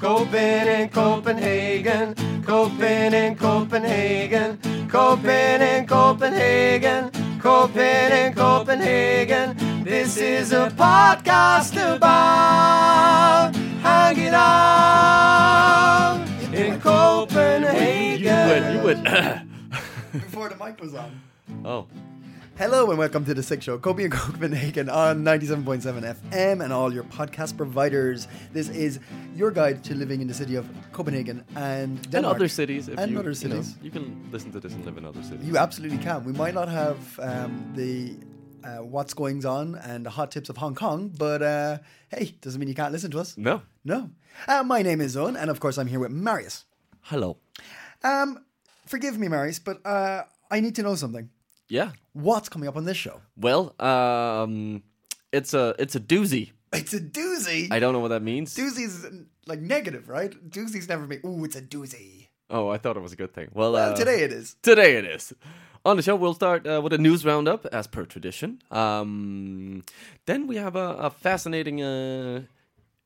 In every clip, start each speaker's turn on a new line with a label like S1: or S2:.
S1: Coping in Copenhagen, coping in Copenhagen, coping in Copenhagen, coping in Copenhagen. This is a podcast about hanging out in Copenhagen.
S2: You would.
S1: Before the mic was on.
S2: oh.
S1: Hello and welcome to the Sick Show, Kobe and Copenhagen on 97.7 FM and all your podcast providers. This is your guide to living in the city of Copenhagen and
S2: And
S1: Denmark.
S2: other cities. If
S1: and
S2: you,
S1: other
S2: you know,
S1: cities.
S2: You, can listen to this and live in other cities.
S1: You absolutely can. We might not have um, the uh, what's goings on and the hot tips of Hong Kong, but uh, hey, doesn't mean you can't listen to us.
S2: no.
S1: No. Uh, my name is Owen and of course I'm here with Marius.
S2: Hello.
S1: Um, forgive me, Marius, but uh, I need to know something.
S2: Yeah.
S1: What's coming up on this show?
S2: Well, um, it's a it's a doozy.
S1: It's a doozy.
S2: I don't know what that means.
S1: Doozy's like negative, right? Doozy's never me. Ooh, it's a doozy.
S2: Oh, I thought it was a good thing. Well,
S1: Well,
S2: uh,
S1: today it is.
S2: Today it is. On the show, we'll start uh, with a news roundup, as per tradition. Um, then we have a, a fascinating uh,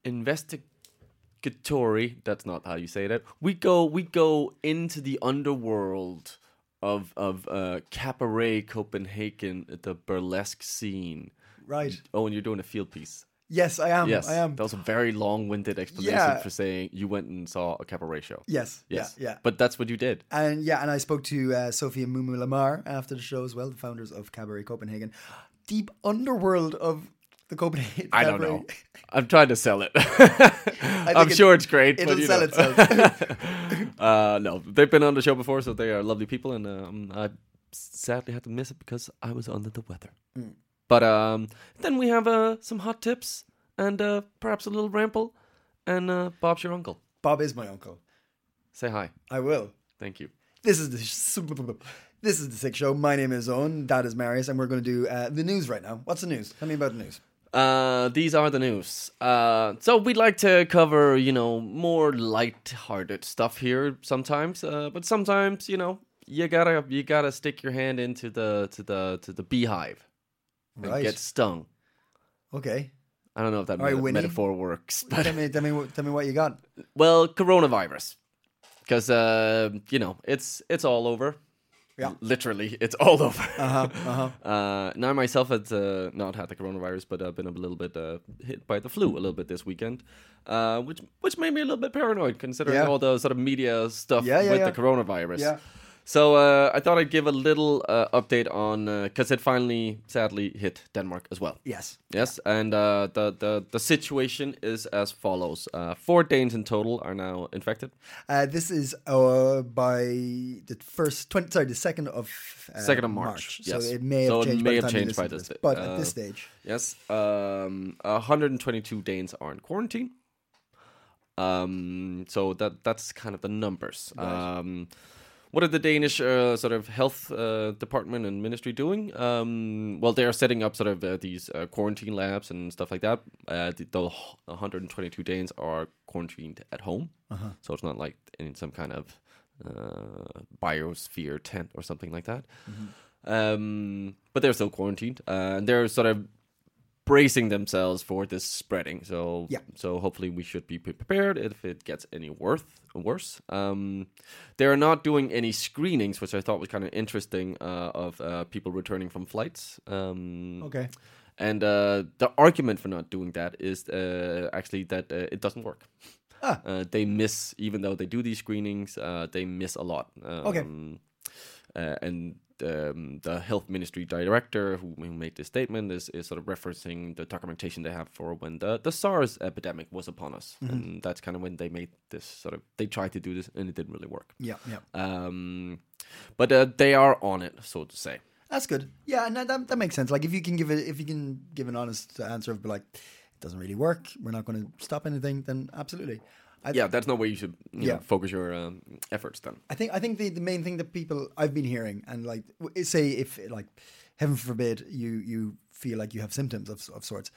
S2: investigatory. That's not how you say that. We go we go into the underworld of of uh, cabaret Copenhagen, the burlesque scene.
S1: Right.
S2: Oh, and you're doing a field piece.
S1: Yes, I am.
S2: Yes,
S1: I am.
S2: That was a very long-winded explanation
S1: Yeah.
S2: for saying you went and saw a cabaret show.
S1: Yes.
S2: Yes.
S1: Yeah. Yeah.
S2: But that's what you did.
S1: and yeah, and I spoke to uh, Sophie and Mumu Lamar after the show as well, the founders of Cabaret Copenhagen, deep underworld of the Copenhagen.
S2: I don't
S1: Cabaret.
S2: know. I'm trying to sell it.
S1: think
S2: I'm
S1: it-
S2: sure it's great.
S1: it'll
S2: but, you
S1: sell
S2: know.
S1: itself.
S2: uh, no, they've been on the show before, so they are lovely people, and um, I sadly had to miss it because I was under the weather.
S1: Mm.
S2: But um, then we have uh, some hot tips and uh, perhaps a little ramble. And uh, Bob's your uncle.
S1: Bob is my uncle.
S2: Say hi.
S1: I will.
S2: Thank you.
S1: This is the sh- this is the sick show. My name is Owen. That is Marius, and we're going to do uh, the news right now. What's the news? Tell me about the news.
S2: Uh, these are the news. Uh, so we'd like to cover, you know, more light-hearted stuff here sometimes. Uh, but sometimes, you know, you gotta you gotta stick your hand into the to the to the beehive and
S1: Right.
S2: get stung.
S1: Okay.
S2: I don't know if that
S1: right,
S2: meta-
S1: Winnie.
S2: metaphor works, but
S1: Tell me, tell me, what- tell me what you got.
S2: well, coronavirus, because uh, you know it's it's all over.
S1: Yeah.
S2: literally, it's all over.
S1: Uh-huh, uh-huh.
S2: Uh, now myself had uh, not had the coronavirus, but I've been a little bit uh, hit by the flu a little bit this weekend, uh, which which made me a little bit paranoid considering
S1: Yeah.
S2: all the sort of media stuff
S1: Yeah, yeah,
S2: with
S1: yeah.
S2: the coronavirus.
S1: Yeah.
S2: So uh, I thought I'd give a little uh, update on because it finally, sadly, hit Denmark as well.
S1: Yes.
S2: Yes, and uh, the, the the situation is as follows: uh, four Danes in total are now infected.
S1: Uh, this is uh, by the first twenty. Sorry, the second of uh,
S2: Second of March, yes.
S1: So it may have
S2: So it
S1: changed.
S2: may
S1: by the
S2: have
S1: time you
S2: changed
S1: listen
S2: by
S1: to
S2: this day.
S1: But at
S2: Uh,
S1: this stage,
S2: Yes, um, 122 Danes are in quarantine. Um, so that that's kind of the numbers. Um, what are the Danish uh, sort of health uh, department and ministry doing? Um, well, they are setting up sort of uh, these uh, quarantine labs and stuff like that. Uh, the, the 122 Danes are quarantined at home, so it's not like in some kind of uh, biosphere tent or something like that. Um, but they're still quarantined, uh, and they're sort of bracing themselves for this spreading. So
S1: Yeah.
S2: so hopefully we should be prepared if it gets any worth worse. Um, they are not doing any screenings, which I thought was kind of interesting uh, of uh, people returning from flights. Um,
S1: okay.
S2: And uh, the argument for not doing that is uh, actually that uh, it doesn't work.
S1: Ah.
S2: Uh, they miss, even though they do these screenings, uh, they miss a lot. Um,
S1: Okay.
S2: uh, and um, the health ministry director who, who made this statement is, is sort of referencing the documentation they have for when the, the SARS epidemic was upon us.
S1: Mm-hmm.
S2: And that's kind of when they made this sort of, they tried to do this and it didn't really work.
S1: Yeah, yeah.
S2: Um, but uh, they are on it, so to say.
S1: That's good. Yeah, and that, that, that makes sense. Like if you can give it, if you can give an honest answer of like, it doesn't really work. We're not going to stop anything. Then absolutely. I,
S2: Yeah, that's not where you should you
S1: Yeah.
S2: know, focus your um, efforts then.
S1: I think I think the, the main thing that people I've been hearing and like w- say if like heaven forbid you you feel like you have symptoms of of sorts,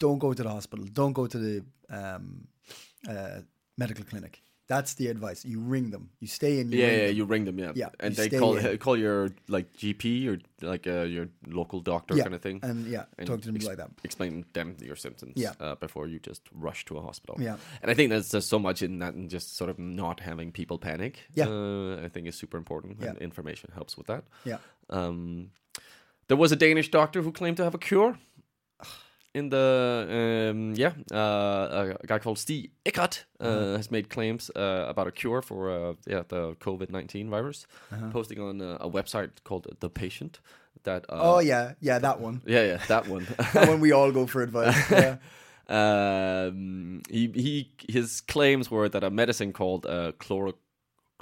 S1: don't go to the hospital. Don't go to the um, uh, medical clinic. That's the advice. You ring them. You stay in. You
S2: Yeah,
S1: ring
S2: yeah,
S1: them.
S2: you ring them, yeah,
S1: Yeah,
S2: and
S1: you
S2: they
S1: stay
S2: call
S1: in.
S2: call your like GP or like uh, your local doctor
S1: Yeah,
S2: kind of thing,
S1: and, yeah, talk to them like that.
S2: Explain them your symptoms,
S1: Yeah.
S2: uh, before you just rush to a hospital.
S1: Yeah.
S2: and I think there's just so much in that, and just sort of not having people panic.
S1: Yeah.
S2: uh, I think is super important, and
S1: Yeah.
S2: information helps with that.
S1: Yeah.
S2: Um, there was a Danish doctor who claimed to have a cure. In the um, yeah, uh, a guy called Steve Eckert uh, has made claims uh, about a cure for uh, yeah the COVID nineteen virus, posting on uh, a website called The Patient. That uh,
S1: Oh yeah, yeah that one.
S2: yeah yeah that one.
S1: That one we all go for advice. Yeah.
S2: um, he he his claims were that a medicine called uh, chloro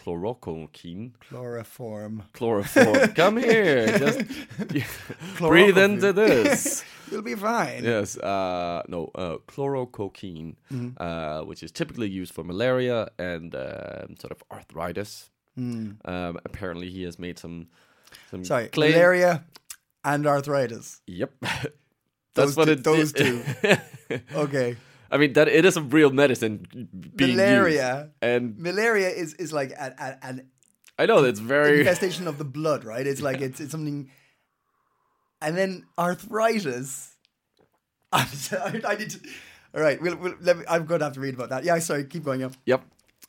S2: chloroquine
S1: Chloroform.
S2: chloroform. Come here, just breathe into this.
S1: You'll be fine.
S2: Yes, uh, no, uh, chlorocoquine,
S1: Mm-hmm.
S2: uh, which is typically used for malaria and um sort of arthritis. Um, apparently, he has made some. some
S1: Mm. Sorry,
S2: claim-
S1: malaria and arthritis.
S2: Yep, that's
S1: Those
S2: what
S1: two-
S2: it.
S1: those two. Okay.
S2: I mean, that it is a real medicine being used.
S1: Malaria.
S2: and
S1: Malaria is is like a, a, an
S2: I know that's very.
S1: infestation of the blood, right? It's like it's it's something. And then arthritis. I'm sorry, I need to. All right, we'll, we'll, let me, I'm going to have to read about that. Yeah, sorry, keep going. Yeah.
S2: Yep.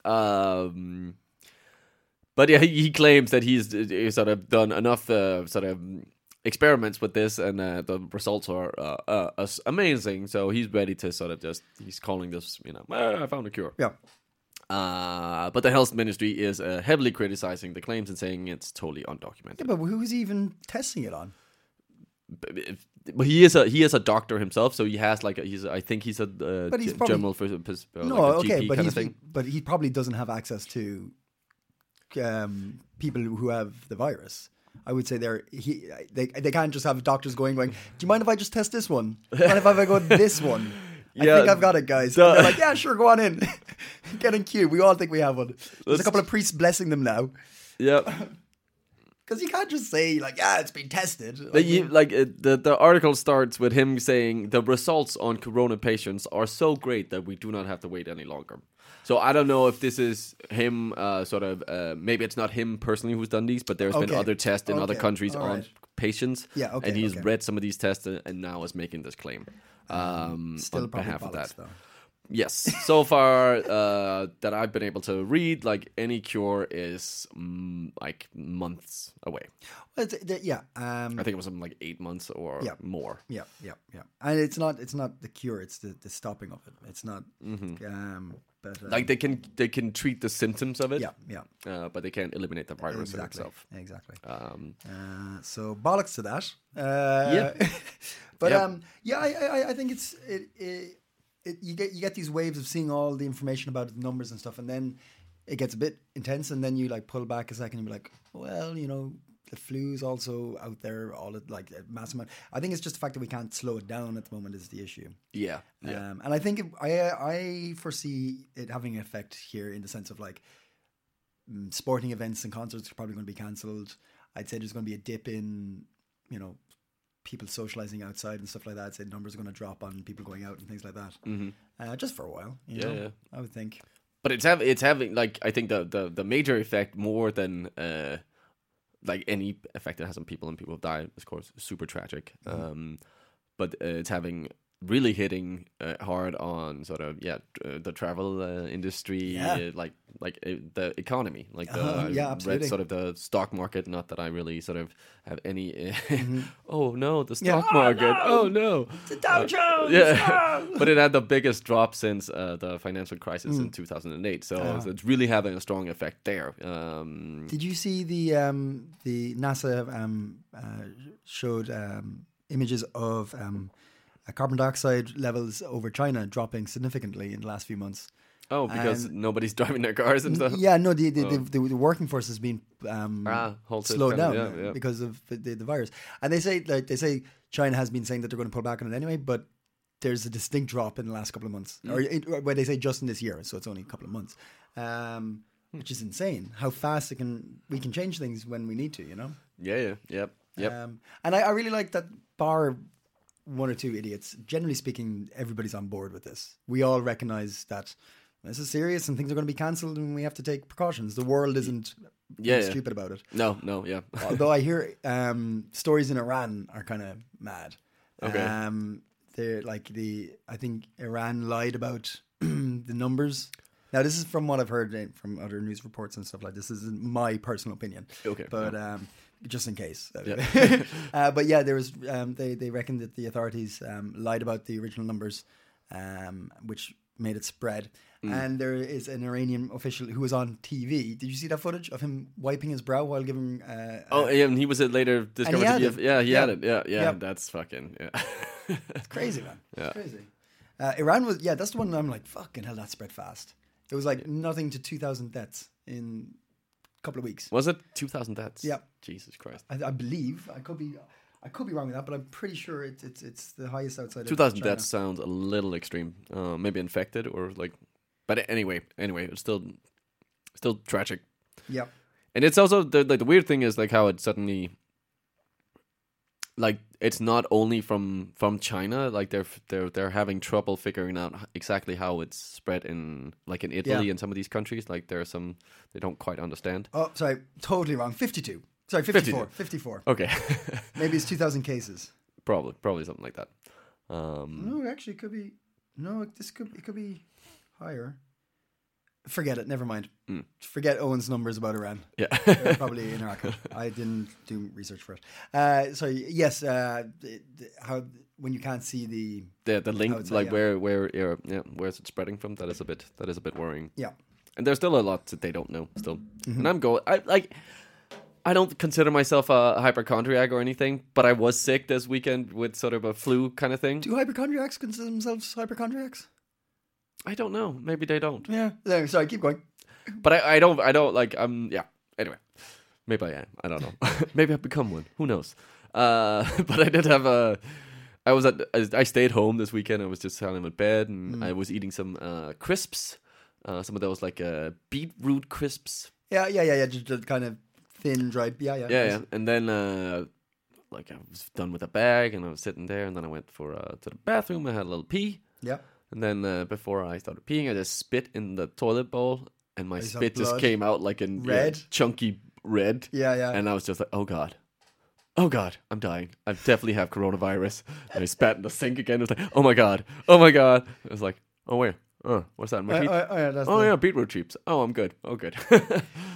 S2: Um, but yeah, he he claims that he's, uh, sort of done enough uh, sort of experiments with this, and uh, the results are uh, uh, as- amazing. So he's ready to sort of just he's calling this, you know, "Ah, I found a cure.
S1: Yeah.
S2: Uh, but the health ministry is uh, heavily criticizing the claims and saying it's totally undocumented.
S1: But who's even testing it on?
S2: but, if- but he is a he is a doctor himself, so he has like a, he's a- I think he's a uh,
S1: But he's
S2: g-
S1: probably-
S2: general phys- phys- uh,
S1: No,
S2: like a
S1: okay,
S2: GP
S1: but
S2: kind
S1: he's,
S2: of thing.
S1: but he probably doesn't have access to um, people who have the virus. I would say they're he they they can't just have doctors going going. Do you mind if I just test this one? Do you mind if I go this one? I
S2: Yeah,
S1: think I've got it, guys.
S2: duh.
S1: And they're like, yeah, sure, go on in. Get in queue. We all think we have one. There's a couple of priests blessing them now
S2: Yep.
S1: because you can't just say like, yeah, it's been tested.
S2: But
S1: Like,
S2: you- like uh, the the article starts with him saying the results on corona patients are so great that we do not have to wait any longer. So I don't know if this is him, uh, sort of. Uh, maybe it's not him personally who's done these, but there's been
S1: Okay.
S2: other tests in other
S1: Okay.
S2: countries
S1: All
S2: on
S1: right.
S2: patients.
S1: Yeah, okay,
S2: And he's
S1: okay. Mm-hmm.
S2: read some of these tests and, and now is making this claim um,
S1: still
S2: on
S1: probably
S2: behalf of
S1: bollocks,
S2: that.
S1: though.
S2: Yes, so far uh, that I've been able to read, like any cure is mm, like months away.
S1: Well, it's- the- yeah, um,
S2: I think it was something like eight months or
S1: Yeah.
S2: more.
S1: Yeah, yeah, yeah. And it's not it's not the cure; it's the, the stopping of it. It's not. Um, but uh,
S2: Mm-hmm. like they can they can treat the symptoms of it
S1: yeah, yeah,
S2: uh, but they can't eliminate the virus in
S1: exactly,
S2: itself
S1: exactly.
S2: um,
S1: Uh, so bollocks to that. Uh,
S2: Yeah.
S1: but
S2: Yep.
S1: um, yeah, I, I- I, I think it's it, it, it. You get you get these waves of seeing all the information about the numbers and stuff, and then it gets a bit intense, and then you like pull back a second and be like, well, you know. The flu's also out there, all at like a mass amount. I think it's just the fact that we can't slow it down at the moment is the issue.
S2: yeah yeah
S1: Um, and I think it, I I foresee it having an effect here in the sense of like mm, sporting events and concerts are probably going to be cancelled. I'd say there's going to be a dip in you know people socializing outside and stuff like that. I'd say numbers are going to drop on people going out and things like that. Uh, just for a while, you
S2: Mm-hmm. Yeah,
S1: know,
S2: yeah.
S1: I would think.
S2: but it's having it's having like i think the, the the major effect more than uh like any effect it has on people and people have died of course super tragic
S1: Mm-hmm.
S2: um but uh, it's having really hitting uh, hard on sort of yeah uh, the travel uh, industry
S1: Yeah.
S2: uh, like like uh, the economy like the
S1: Uh-huh,
S2: I
S1: yeah,
S2: read
S1: absolutely.
S2: sort of the stock market not that i really sort of have any uh,
S1: Mm-hmm.
S2: oh no the stock market oh no
S1: The Dow Jones.
S2: yeah, but it had the biggest drop since uh, the financial crisis
S1: Mm.
S2: in 2008. So so it's really having a strong effect there. Um,
S1: Did you see the um, the NASA um, uh, showed um, images of um, uh, carbon dioxide levels over China dropping significantly in the last few months?
S2: Oh, because nobody's driving their cars and stuff.
S1: Yeah, no, the the, the, the working force has been um,
S2: Uh-huh. Ah, halted,
S1: slowed down
S2: kind of, yeah, yeah.
S1: because of the, the virus. And they say like they say China has been saying that they're going to pull back on it anyway, but there's a distinct drop in the last couple of months,
S2: Hmm.
S1: or it, where they say just in this year, so it's only a couple of months, um,
S2: Hmm.
S1: which is insane. How fast it can we can change things when we need to, you know.
S2: Yeah, yeah, yep, yep.
S1: Um, and I, I really like that bar one or two idiots. Generally speaking, everybody's on board with this. We all recognize that this is serious and things are going to be cancelled and we have to take precautions. The world isn't
S2: Yeah, yeah.
S1: stupid about it.
S2: no, no, yeah.
S1: Although I hear um, stories in Iran are kind of mad.
S2: Okay.
S1: Um, they're like the I think Iran lied about the numbers. Now this is from what I've heard in- from other news reports and stuff like this. This isn't my personal opinion.
S2: Okay,
S1: But um, just in case. uh, but yeah, there was um, they they reckoned that the authorities um, lied about the original numbers, um, which made it spread.
S2: Mm.
S1: And there is an Iranian official who was on TV. Did you see that footage of him wiping his brow while giving uh,
S2: oh, yeah, and he was it later discovered. to
S1: had
S2: be
S1: it.
S2: a- Yeah, he had
S1: Yeah.
S2: it. Yeah, yeah.
S1: Yeah.
S2: That's fucking. Yeah.
S1: crazy man. It's crazy. Uh, Iran was yeah, that's the one I'm like fucking hell that spread fast. It was like nothing to 2000 deaths in a couple of weeks.
S2: was it two thousand deaths?
S1: Yep.
S2: Jesus Christ.
S1: I, I believe I could be I could be wrong with that, but I'm pretty sure it's it's it's the highest outside of
S2: Two thousand
S1: China.
S2: deaths sounds a little extreme. Uh, maybe infected or like, but anyway, anyway, it's still, still tragic.
S1: Yep.
S2: And it's also the like the weird thing is like how it suddenly like it's not only from from China like they're they're they're having trouble figuring out h- exactly how it's spread in like in Italy
S1: Yeah.
S2: and some of these countries like there are some they don't quite understand.
S1: Oh, sorry, totally wrong. 52. Sorry, 54.
S2: 52.
S1: 54.
S2: Okay.
S1: Maybe it's 2,000 cases.
S2: probably probably something like that. Um
S1: No, actually, it could be. No, it- this could it could be higher. Forget it. Never mind.
S2: Hmm.
S1: Forget Owen's numbers about Iran.
S2: yeah.
S1: They're probably in Iraq. I didn't do research for it. Uh, so yes, uh, th- th- how when you can't see the
S2: the the link
S1: would say,
S2: like
S1: yeah.
S2: where where yeah, yeah, where is it spreading from? That is a bit that is a bit worrying.
S1: yeah
S2: and there's still a lot that they don't know still and i'm going i like i don't consider myself a hypochondriac or anything but i was sick this weekend with sort of a flu kind of thing
S1: do hypochondriacs consider themselves hypochondriacs?
S2: i don't know maybe they don't
S1: Yeah. No, sorry, keep going.
S2: but i, I don't i don't like um yeah anyway maybe i am i don't know maybe i've become one who knows uh but i did have a i was at I- i stayed home this weekend i was just sitting in bed and i was eating some uh crisps uh some of those like uh beetroot crisps
S1: Yeah, yeah, yeah, yeah. Just, just kind of thin, dry. Yeah, yeah.
S2: yeah, yeah. And then uh like I was done with the bag and I was sitting there and then I went for uh, to the bathroom, I had a little pee.
S1: yeah.
S2: And then uh, before I started peeing, I just spit in the toilet bowl and my
S1: saw
S2: spit just
S1: blood.
S2: came out like in yeah,
S1: Red?
S2: chunky red.
S1: Yeah, yeah.
S2: And I was just like, "Oh god." Oh god, I'm dying. I definitely have coronavirus. And I spat in the sink again. It was like, "Oh my god. Oh my god." It was like, "Oh wait. Oh, what's that? My
S1: Oh,
S2: teeth?
S1: oh, oh, yeah, that's
S2: oh
S1: the-
S2: yeah, beetroot chips. Oh, I'm good. Oh good.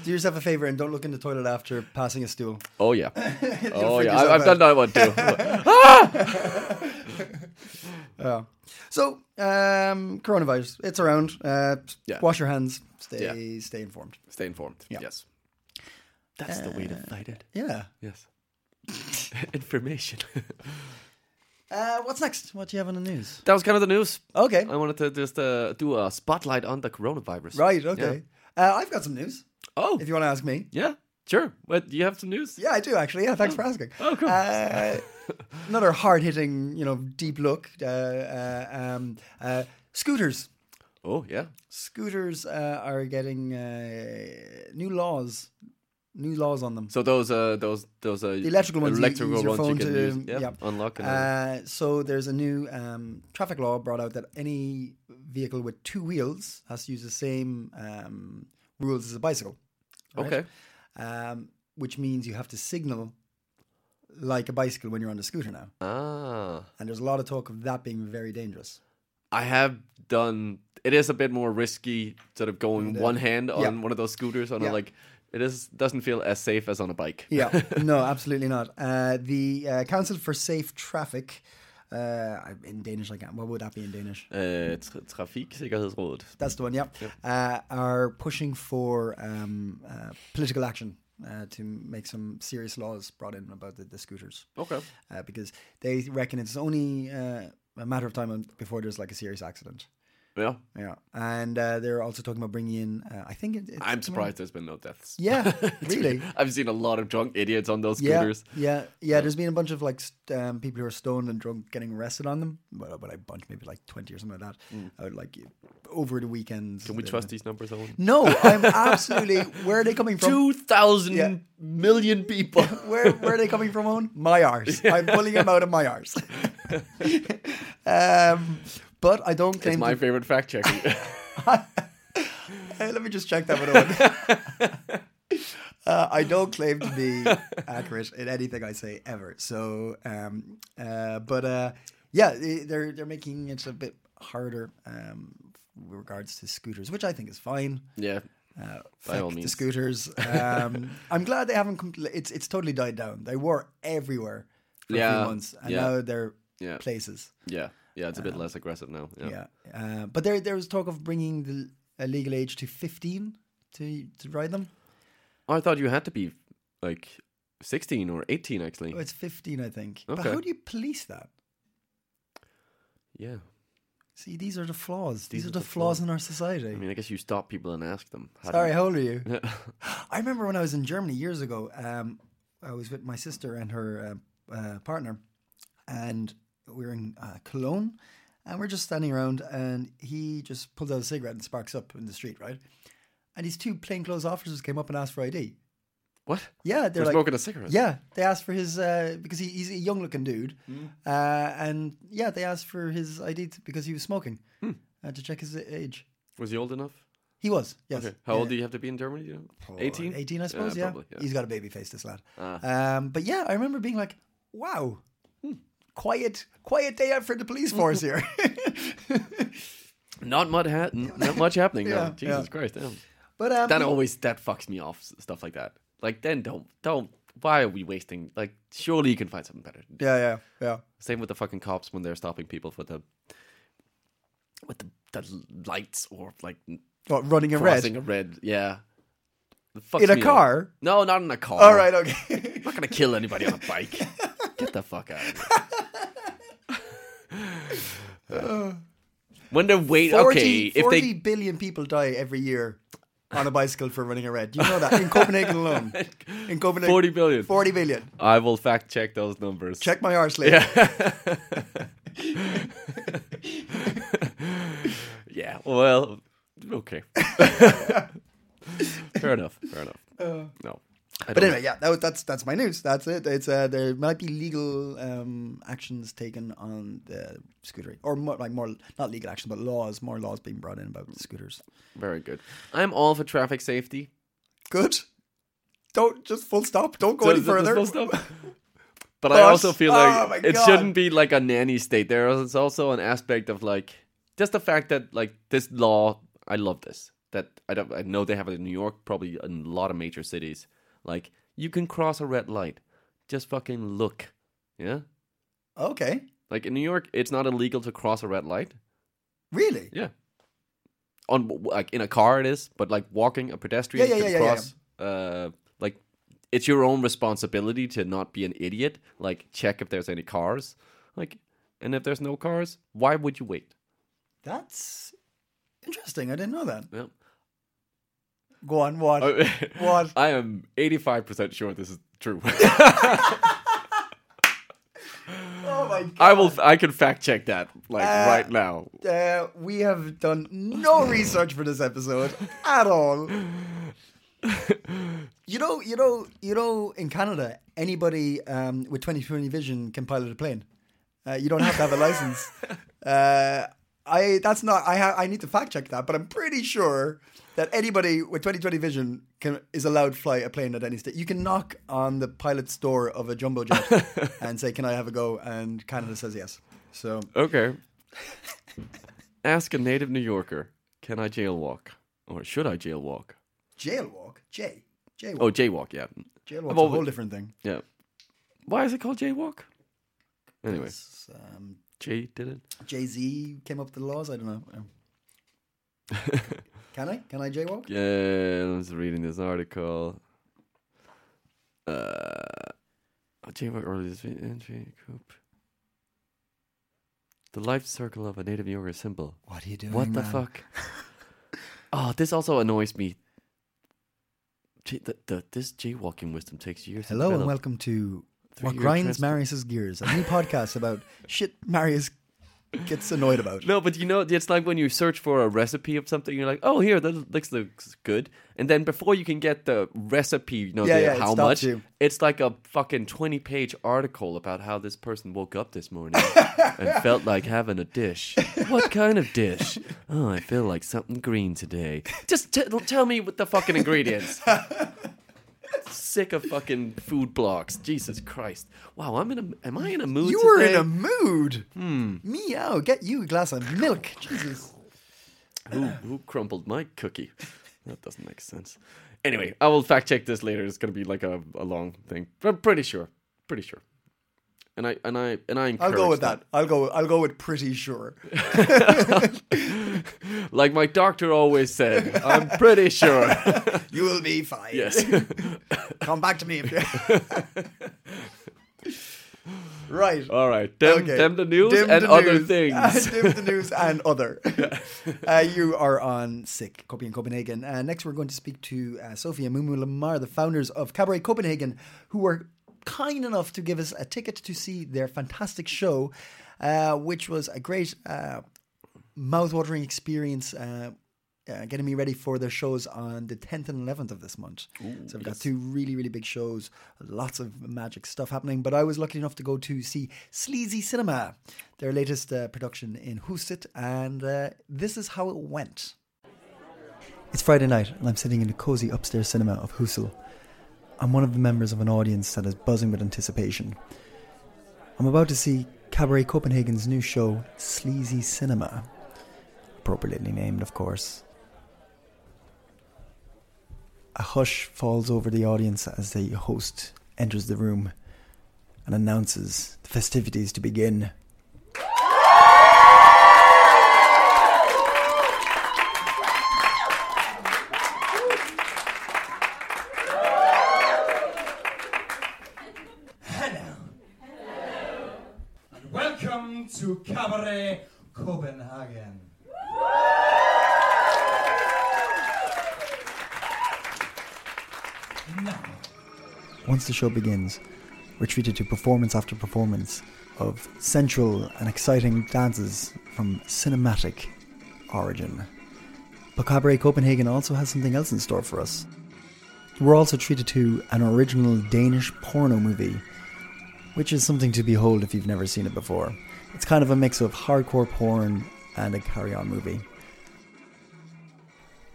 S1: Do yourself a favor and don't look in the toilet after passing a stool.
S2: oh yeah. Oh
S1: freak
S2: yeah.
S1: yourself
S2: I, I've done that one too.
S1: Yeah. So, um, coronavirus, it's around. Uh,
S2: Yeah.
S1: Wash your hands. Stay, stay informed.
S2: Stay informed. Yes. That's the way to fight it.
S1: Yeah.
S2: Yes. Information.
S1: Uh, what's next? What do you have on the news?
S2: that was kind of the news.
S1: Okay.
S2: I wanted to just uh, do a spotlight on the coronavirus.
S1: right. Okay. Uh, I've got some news.
S2: Oh,
S1: If you want to ask me.
S2: yeah. Sure. What, do you have some news?
S1: Yeah, I do actually. Yeah, thanks for asking.
S2: Oh, cool.
S1: Uh, another hard-hitting, you know, deep look. Uh, uh, um, uh, scooters.
S2: Oh, yeah.
S1: Scooters uh, are getting uh, new laws. New laws on them.
S2: So those, uh, those, those, uh,
S1: The electrical ones, you
S2: electrical
S1: use your
S2: ones you
S1: phone
S2: can
S1: to-
S2: use, yeah,
S1: yeah.
S2: unlock. And
S1: Uh, so there's a new um, traffic law brought out that any vehicle with two wheels has to use the same um, rules as a bicycle,
S2: okay.
S1: um, which means you have to signal like a bicycle when you're on the scooter now.
S2: Ah,
S1: And there's a lot of talk of that being very dangerous.
S2: I have done. It is a bit more risky, sort of going one hand on one of those scooters on a
S1: Yeah.
S2: like. It is doesn't feel as safe as on a bike.
S1: Yeah, no, absolutely not. Uh, the uh, Council for Safe Traffic, uh, I- in Danish, I can't. What would that be in Danish?
S2: Uh, tra- trafiksikkerhedsrådet.
S1: That's the one, yeah. Uh, are pushing for um, uh, political action uh, to make some serious laws brought in about the, the scooters.
S2: Okay.
S1: Uh, because they reckon it's only uh, a matter of time before there's like a serious accident.
S2: Yeah.
S1: Yeah, and uh, they're also talking about bringing in. Uh, I think it, it's,
S2: I'm surprised there's been no deaths.
S1: Yeah, really.
S2: I've seen a lot of drunk idiots on those
S1: Yeah,
S2: scooters.
S1: yeah, yeah. There's been a bunch of like st- um, people who are stoned and drunk getting arrested on them. Well, but a bunch, maybe like twenty or something like that. I would like over the weekends.
S2: Mm. Can we trust these numbers, Owen?
S1: No, I'm absolutely. Where are they coming from?
S2: Two thousand
S1: Yeah.
S2: million people.
S1: where where are they coming from? Owen? My arse. I'm pulling them out of my arse. um, but I don't
S2: It's
S1: claim.
S2: my
S1: To,
S2: favorite fact checking.
S1: Hey, let me just check that one. Owen. uh, I don't claim to be accurate in anything I say ever. So, um, uh, but uh, yeah, they- they're they're making it a bit harder um, with regards to scooters, which I think is fine.
S2: yeah.
S1: Uh,
S2: By
S1: fuck
S2: all
S1: the
S2: means.
S1: scooters. Um, I'm glad they haven't. Compl- it's it's totally died down. They were everywhere for a
S2: Yeah,
S1: few months, and
S2: yeah.
S1: now they're
S2: Yeah.
S1: places.
S2: Yeah. Yeah. It's a bit less aggressive now. Yeah.
S1: Um, Yeah, uh, but there there was talk of bringing the uh, legal age to 15 to to ride them.
S2: Oh, I thought you had to be like sixteen or eighteen, actually.
S1: Oh, it's 15, I think. But
S2: Okay.
S1: how do you police that?
S2: Yeah.
S1: See, these are the flaws. These,
S2: These
S1: are
S2: are
S1: the
S2: the
S1: flaws in our society.
S2: I mean, I guess you stop people and ask them. How do
S1: Sorry, how old are you?
S2: you-
S1: I remember when I was in Germany years ago, um, I was with my sister and her uh, uh, partner, and we were in uh, Cologne, and we're just standing around, and he just pulls out a cigarette and sparks up in the street, right? And these two plainclothes officers came up and asked for ID.
S2: what?
S1: Yeah, they're
S2: We're
S1: like,
S2: smoking a cigarette.
S1: yeah, they asked for his uh, because he, he's a young looking dude, uh, and yeah, they asked for his ID t- because he was smoking
S2: Hmm.
S1: uh, to check his age.
S2: Was he old enough?
S1: He was, yes.
S2: Okay. How old do you have to be in Germany? You know?
S1: Or
S2: 18?
S1: 18, Oh, I suppose, yeah.
S2: probably, Ah.
S1: He's got a baby face, this lad. Um, but yeah, I remember being like, wow,
S2: Hmm.
S1: quiet, quiet day out for the police force here.
S2: Not much, ha- n- not much happening.
S1: Yeah,
S2: no. Jesus
S1: yeah.
S2: Christ. Damn.
S1: but um,
S2: That always that fucks me off. s- Stuff like that. Like then don't don't. Why are we wasting? Like surely you can find something better.
S1: yeah, yeah, yeah.
S2: Same with the fucking cops when they're stopping people for the with the, the lights or like
S1: What, running in
S2: crossing
S1: red
S2: a red. Yeah. It fucks
S1: in a
S2: me off.
S1: car?
S2: No, not in a car.
S1: All right, okay.
S2: I'm not gonna kill anybody on a bike. Get the fuck out of here. when they're wait,
S1: 40, 40
S2: okay, if they
S1: billion people die every year on a bicycle for running a red. Do you know that? In Copenhagen alone. In Copenhagen.
S2: 40 billion.
S1: 40 billion.
S2: I will fact check those numbers.
S1: Check my arse later.
S2: Yeah. Well, okay. fair enough. Fair enough. no. I
S1: Uh, But
S2: don't-
S1: anyway, yeah, that was, that's that's my news. That's it. It's uh, there might be legal um, actions taken on the scooter, or more, like more not legal action, but laws, more laws being brought in about scooters.
S2: Very good. I'm all for traffic safety.
S1: Good. Don't just full stop. Don't go
S2: So
S1: any
S2: is it
S1: further.
S2: supposed to- But, I
S1: But-
S2: also feel
S1: oh
S2: like
S1: my
S2: it
S1: God.
S2: shouldn't be like a nanny state. There is also an aspect of like just the fact that like this law. I love this. That I don't. I know they have it in New York, probably in a lot of major cities. Like you can cross a red light. Just fucking look. Yeah.
S1: Okay,
S2: Like in New York, it's not illegal to cross a red light.
S1: really?
S2: Yeah. On like in a car it is, but like walking a pedestrian
S1: Yeah, yeah,
S2: can
S1: yeah, yeah, yeah.
S2: cross. Uh, like it's your own responsibility to not be an idiot. Like check if there's any cars. Like, and if there's no cars, why would you wait?
S1: That's interesting. I didn't know that.
S2: Yeah.
S1: Go on. What? What?
S2: I am eighty five percent sure this is true.
S1: oh my god.
S2: I will. I can fact check that like
S1: Uh,
S2: right now.
S1: Uh, we have done no research for this episode at all. You know, you know, you know. In Canada, anybody um, with 20/20 vision can pilot a plane. Uh, you don't have to have a license. Uh, I that's not. I ha- I need to fact check that, but I'm pretty sure that anybody with 20/20 vision can is allowed to fly a plane at any stage. You can knock on the pilot's door of a jumbo jet and say, "Can I have a go?" And Canada says yes. So
S2: Okay. Ask a native New Yorker. Can I jailwalk, or should I jailwalk?
S1: jailwalk, J, jailwalk.
S2: Oh, jaywalk. Yeah,
S1: Jailwalk's
S2: Well,
S1: a whole
S2: we-
S1: different thing.
S2: yeah. Why is it called jaywalk? Anyway,
S1: It's, Um,
S2: Jay did it.
S1: Jay Z came up with the laws. I don't know. Um, can I? Can I jaywalk?
S2: Yeah, I was reading this article. oh, Uh, jaywalk early this entry coop. The life circle of a native yoga symbol.
S1: What are you doing?
S2: What the
S1: man?
S2: fuck? oh, this also annoys me. Gee, the, the, this jaywalking wisdom takes years. to
S1: Hello and
S2: develop.
S1: welcome to What
S2: Three-year
S1: Grinds
S2: transcript.
S1: Marius's Gears, a new podcast about shit Marius gets annoyed about.
S2: No, but you know, it's like when you search for a recipe of something, you're like, oh, here, that looks, looks good. And then before you can get the recipe, you know,
S1: Yeah,
S2: the-
S1: yeah, it
S2: how
S1: stops
S2: much,
S1: you.
S2: it's like a fucking 20 page article about how this person woke up this morning and felt like having a dish. What kind of dish? Oh, I feel like something green today. Just t- tell me what the fucking ingredients. Sick of fucking food blocks. Jesus Christ. Wow, I'm in a, am I in a mood
S1: You were in
S2: today?
S1: a mood.
S2: Hmm.
S1: Meow, get you a glass of milk. Jesus.
S2: who, who crumpled my cookie? That doesn't make sense. Anyway, I will fact check this later. It's going to be like a, a long thing, but I'm pretty sure, pretty sure. And I and I and I
S1: I'll
S2: encourage
S1: go with that. I'll go I'll go with pretty sure.
S2: that. Like my doctor always said, I'm pretty sure.
S1: You will be fine.
S2: yes.
S1: Come back to me if you Right.
S2: All right. Them,
S1: Okay.
S2: Uh, them the news
S1: Dim
S2: and
S1: the
S2: other
S1: news.
S2: things.
S1: Dim the news and other. uh, you are on Sick, Copy in Copenhagen. Uh, next, we're going to speak to uh, Sophie and Mumu Lamar, the founders of Cabaret Copenhagen, who were kind enough to give us a ticket to see their fantastic show, uh, which was a great uh, mouth-watering experience. Uh, uh, getting me ready for their shows on the 10th and 11th of this month. so we've got two really, really big shows, lots of magic stuff happening. But I was lucky enough to go to see Sleazy Cinema, their latest uh, production in Hoosit, and uh, this is how it went. It's Friday night, and I'm sitting in a cozy upstairs cinema of Husel. I'm one of the members of an audience that is buzzing with anticipation. I'm about to see Cabaret Copenhagen's new show, Sleazy Cinema. Appropriately named, of course. A hush falls over the audience as the host enters the room and announces the festivities to begin.
S3: Welcome to Cabaret Copenhagen. Now,
S1: Once the show begins, we're treated to performance after performance of sensual and exciting dances from cinematic origin. But Cabaret Copenhagen also has something else in store for us. We're also treated to an original Danish porno movie, which is something to behold if you've never seen it before. It's kind of a mix of hardcore porn and a carry on movie.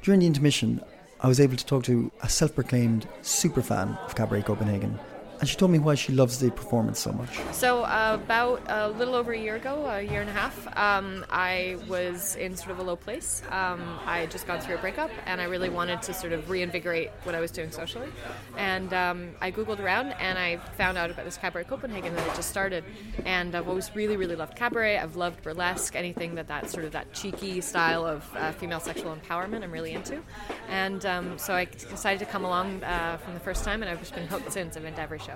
S1: During the intermission, I was able to talk to a self proclaimed superfan of Cabaret Copenhagen, and she told me why she loves the performance so much.
S4: So uh, about a little over a year ago, a year and a half, um, I was in sort of a low place. Um, I had just gone through a breakup, and I really wanted to sort of reinvigorate what I was doing socially. And um, I googled around, and I found out about this cabaret Copenhagen that I just started. And I've always really, really loved cabaret. I've loved burlesque, anything that that sort of that cheeky style of uh, female sexual empowerment. I'm really into. And um, so I decided to come along uh, from the first time, and I've just been hooked since. I've been to every show.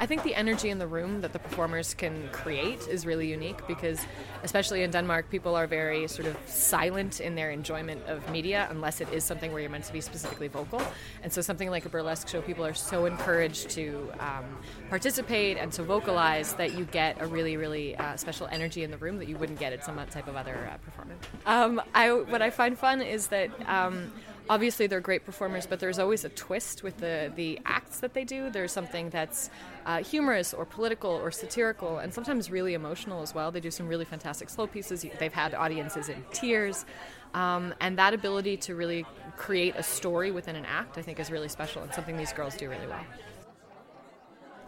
S4: I think the energy in the room that the performers can create is really unique because, especially in Denmark, people are very sort of silent in their enjoyment of media unless it is something where you're meant to be specifically vocal. And so, something like a burlesque show, people are so encouraged to um, participate and to vocalize that you get a really, really uh, special energy in the room that you wouldn't get at some type of other uh, performance. Um, I, what I find fun is that. Um, obviously they're great performers but there's always a twist with the, the acts that they do there's something that's uh, humorous or political or satirical and sometimes really emotional as well they do some really fantastic slow pieces they've had audiences in tears um, and that ability to really create a story within an act i think is really special and something these girls do really well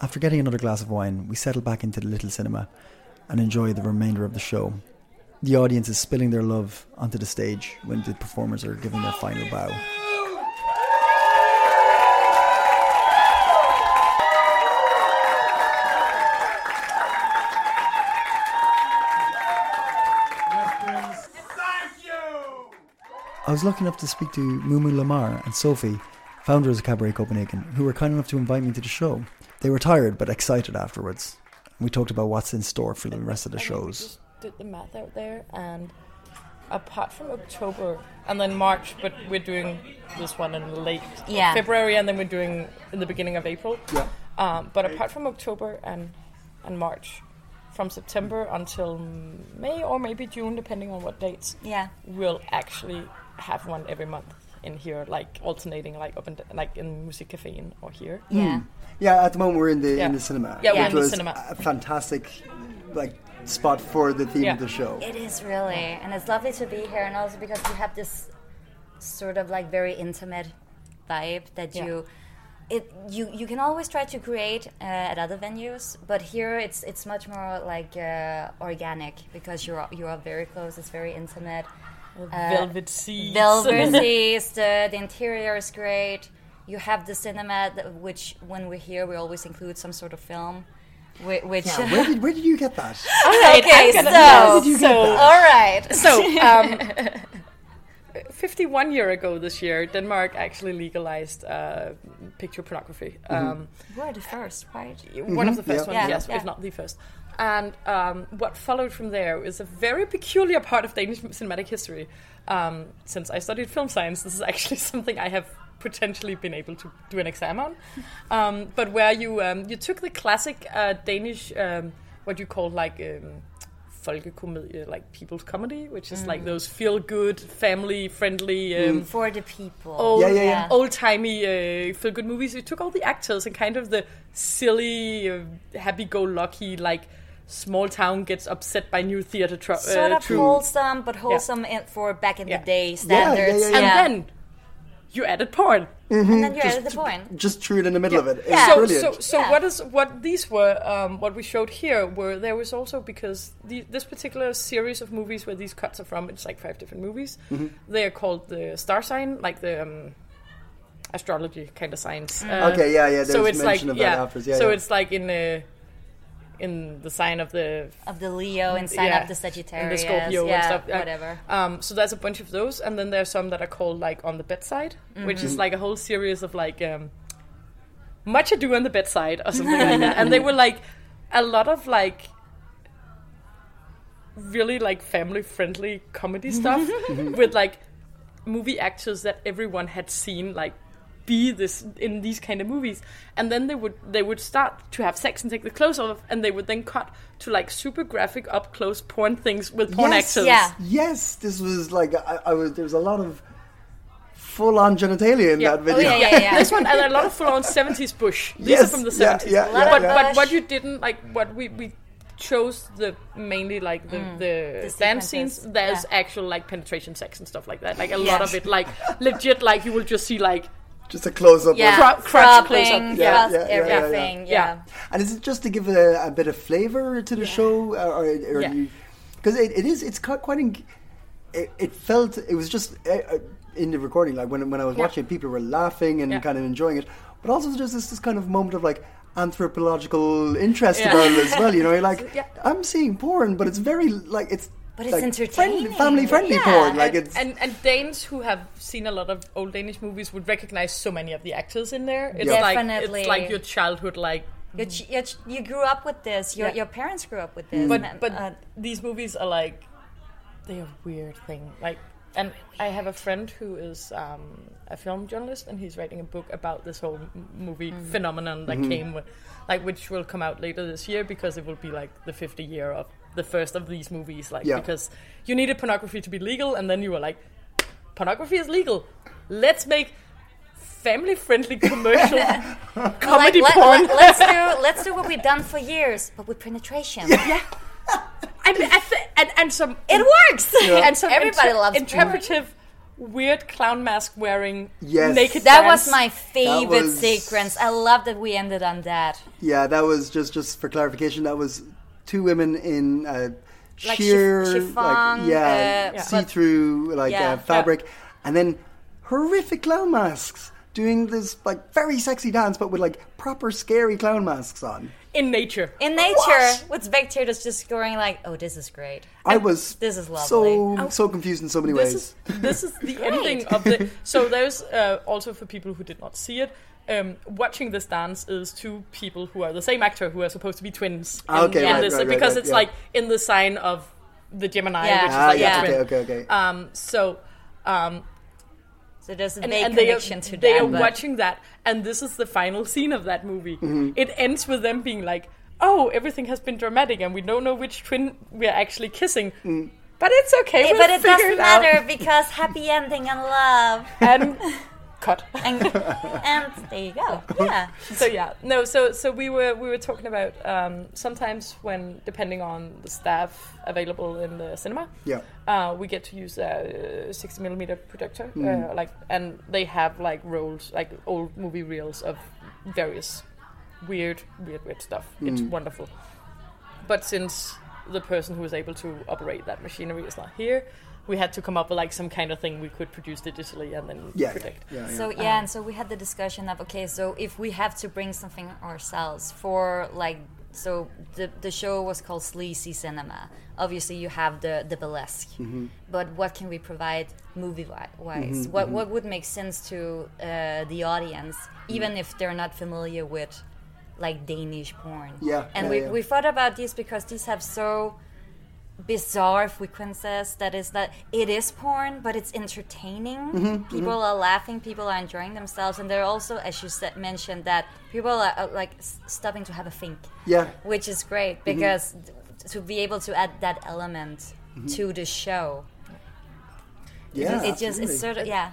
S1: After getting another glass of wine, we settle back into the little cinema and enjoy the remainder of the show. The audience is spilling their love onto the stage when the performers are giving their final bow.
S3: reference. Thank you!
S1: I was lucky enough to speak to Mumu Lamar and Sophie, founders of Cabaret Copenhagen, who were kind enough to invite me to the show. They were tired but excited afterwards. We talked about what's in store for the rest of the shows.
S5: did the math out there, and apart from October and then March, but we're doing this one in late
S6: Yeah.
S5: February, and then we're doing in the beginning of April. Yeah. Um, but apart from October and and March, from September until May or maybe June, depending on what dates.
S6: Yeah.
S5: We'll actually have one every month in here, like alternating, like up and d- like in Music Cafe or here.
S6: Yeah.
S1: Yeah, at the moment we're in the
S5: Yeah.
S1: in the cinema,
S5: Yeah, we're
S1: which
S5: in the
S1: was
S5: cinema.
S1: a fantastic like spot for the theme
S5: Yeah.
S1: of the show.
S6: It is really, and it's lovely to be here, and also because you have this sort of like very intimate vibe that
S5: Yeah.
S6: you. It, you you can always try to create uh, at other venues, but here it's it's much more like uh, organic because you're you are very close. It's very intimate. Uh,
S5: Velvet Seas.
S6: Velvet seas, the, the interior is great. You have the cinema, that- which when we're here, we always include some sort of film. whi- Which
S1: Where did where did you get that?
S6: okay,
S5: Yes,
S6: so
S5: so
S6: all right,
S5: So, um, 51 year ago this year, Denmark actually legalized uh, picture pornography. Um,
S6: we're the first, right?
S5: One of the first ones,
S6: Yeah,
S5: yes,
S6: yeah.
S5: if not the first. And um, what followed from there is a very peculiar part of Danish cinematic history. Um, since I studied film science, this is actually something I have potentially been able to do an exam on. Um, but where you um, you took the classic uh, Danish, um, what you call like. Um, folkekomedie, like people's comedy, which is
S6: Mm.
S5: like those feel good, family friendly, um,
S6: For the people.
S5: old,
S1: Yeah, yeah, yeah.
S5: old timey uh, feel good movies. We took all the actors and kind of the silly, uh, happy go lucky, like small town gets upset by new theater tro-
S6: sort
S5: uh,
S6: of
S5: troupe.
S6: wholesome, but wholesome in, for back in
S5: Yeah.
S6: the day
S1: yeah,
S6: standards.
S1: yeah,
S5: And then you added porn.
S6: and then you're at the point.
S1: Just threw it in the middle of it. It's
S6: Yeah.
S5: so,
S1: brilliant.
S5: So, so
S6: Yeah.
S5: what is what these were? Um, what we showed here were there was also because the, this particular series of movies where these cuts are from, it's like five different movies.
S1: Mm-hmm.
S5: They are called the star sign, like the um, astrology kind of signs. Uh,
S1: Okay, yeah, yeah, there
S5: So
S1: was
S5: it's like
S1: mention of that
S5: yeah,
S1: afterwards, yeah,
S5: So
S1: yeah.
S5: it's like in the in the sign of the
S6: Of the Leo and sign
S5: yeah,
S6: up the
S5: and
S6: Sagittarius.
S5: the Scorpio
S6: yeah,
S5: and stuff. yeah.
S6: whatever.
S5: Um, so there's a bunch of those, and then there's some that are called like on the bedside, which
S1: Mm-hmm.
S5: is like a whole series of like um, much ado on the bedside or something like that. And they were like a lot of like really like family friendly comedy stuff with like movie actors that everyone had seen like be this in these kind of movies and then they would they would start to have sex and take the clothes off and they would then cut to like super graphic up close porn things with porn
S1: Yes.
S5: actors
S6: Yeah.
S1: Yes, this was like I, I was. There was a lot of full-on genitalia in
S5: Yeah.
S1: that video.
S6: Oh, yeah, yeah, yeah.
S5: this one and a lot of full on 70s bush these
S1: Yes,
S5: are from the
S1: yeah,
S5: 70s
S1: yeah,
S6: yeah,
S5: but
S6: yeah.
S5: but what you didn't like what we we chose the mainly like the the,
S6: Mm. The
S5: dance
S6: sequences,
S5: scenes there's
S6: yeah.
S5: actual like penetration sex and stuff like that like a
S6: Yeah.
S5: lot of it like legit like you will just see like
S1: Just a close-up.
S6: yeah.
S5: Cro- crotch close-up.
S6: Scrubbing,
S1: Yeah,
S6: crotch
S1: yeah, yeah, yeah, yeah.
S6: everything. Yeah.
S5: Yeah.
S1: And is it just to give it a, a bit of flavor to the show, or, or, or
S5: Yeah.
S1: you? Because it, it is. It's quite. quite eng it, it felt. It was just uh, uh, in the recording. Like when when I was
S5: Yeah.
S1: watching, it, people were laughing and
S5: Yeah.
S1: kind of enjoying it. But also, there's this, this kind of moment of like anthropological interest about it as well. You know, you're like,
S5: Yeah.
S1: I'm seeing porn, but it's very like it's.
S6: But it's
S1: like,
S6: entertaining.
S1: family friendly
S6: Yeah.
S1: porn. Like
S5: and,
S1: it's
S5: and and Danes who have seen a lot of old Danish movies would recognize so many of the actors in there. It's
S6: Yeah.
S5: like
S6: Definitely.
S5: it's like your childhood like
S6: You, ch- you, ch- you grew up with this. Your,
S5: Yeah.
S6: your parents grew up with this.
S5: but
S6: man.
S5: but
S6: Uh,
S5: these movies are like they are weird thing. Like and I have a friend who is um, a film journalist and he's writing a book about this whole m- movie
S6: Mm-hmm.
S5: phenomenon that came with, like which will come out later this year because it will be like the 50 year of the first of these movies like
S1: Yeah.
S5: because you needed pornography to be legal and then you were like pornography is legal. Let's make family friendly commercial comedy
S6: like,
S5: porn.
S6: Let, us do let's do what we've done for years, but with penetration. Yeah,
S5: I mean, I th- and, and some.
S6: It works. Yeah.
S5: And some
S6: Everybody
S5: inter-
S6: loves porn.
S5: interpretive, weird clown mask wearing
S1: Yes.
S5: naked.
S6: that
S5: dance.
S6: was my favorite
S1: was-
S6: sequence. I love that we ended on that.
S1: Yeah, that was just just for clarification. That was two women in uh,
S6: Like
S1: sheer,
S6: chif-
S1: like,
S6: chiffon, uh,
S1: yeah,
S6: Yeah.
S1: see-through like
S6: Yeah.
S1: uh, fabric, and then horrific clown masks doing this like very sexy dance, but with like proper scary clown masks on.
S5: in nature.
S6: In nature, what's back here that's just going like, oh, this is great.
S1: I was
S6: this is lovely.
S1: so so confused in so many ways.
S5: Oh. This is this is the ending of the. So there's uh, also for people who did not see it. Um, watching this dance is two people who are the same actor who are supposed to be twins. in-
S1: Ah, okay,
S5: in
S1: right,
S5: this,
S1: right, right,
S5: because
S1: right,
S5: it's
S1: yeah.
S5: like in the sign of the Gemini,
S6: Yeah.
S5: which is
S6: Ah,
S5: like
S6: yeah.
S5: a
S6: Okay,
S5: twin.
S7: okay, okay.
S5: Um, so um,
S6: So there's a
S5: and,
S6: big
S5: and they are,
S6: connection to
S5: they
S6: that.
S5: are
S6: but-
S5: watching that, and this is the final scene of that movie. It ends with them being like, "Oh, everything has been dramatic, and we don't know which twin we are actually kissing, but it's okay.
S6: Hey,
S5: we'll
S6: but it
S5: figure
S6: doesn't
S5: it out."
S6: matter because happy ending and love.
S5: And cut.
S6: And, and there you go. Yeah.
S5: so yeah, no. So so we were we were talking about um, sometimes when depending on the staff available in the cinema,
S7: Yeah.
S5: uh, we get to use a uh, sixty millimeter projector, uh,
S7: Hmm.
S5: like, and they have like rolls, like old movie reels of various weird, weird, weird stuff. It's
S7: Hmm.
S5: wonderful, but since the person who was able to operate that machinery is not here. We had to come up with like some kind of thing we could produce digitally and then
S7: Yeah.
S5: predict.
S7: yeah, yeah. Oh.
S6: So yeah, and so we had the discussion of okay, so if we have to bring something ourselves for like so the the show was called Sleazy Cinema. Obviously, you have the the burlesque,
S7: Mm-hmm.
S6: but what can we provide movie wi- wise? what
S7: mm-hmm.
S6: what would make sense to uh, the audience,
S7: Mm.
S6: even if they're not familiar with like Danish porn?
S7: Yeah,
S6: and
S7: yeah,
S6: we
S7: yeah.
S6: we thought about these because these have so bizarre frequencies that is that it is porn but it's entertaining
S7: Mm-hmm,
S6: people are laughing people are enjoying themselves and they're also as you said mentioned that people are uh, like s- stopping to have a think
S7: Yeah. Mm-hmm.
S6: which is great because t- to be able to add that element to the show
S7: Mm-hmm. yeah.
S6: it just it's sort of yeah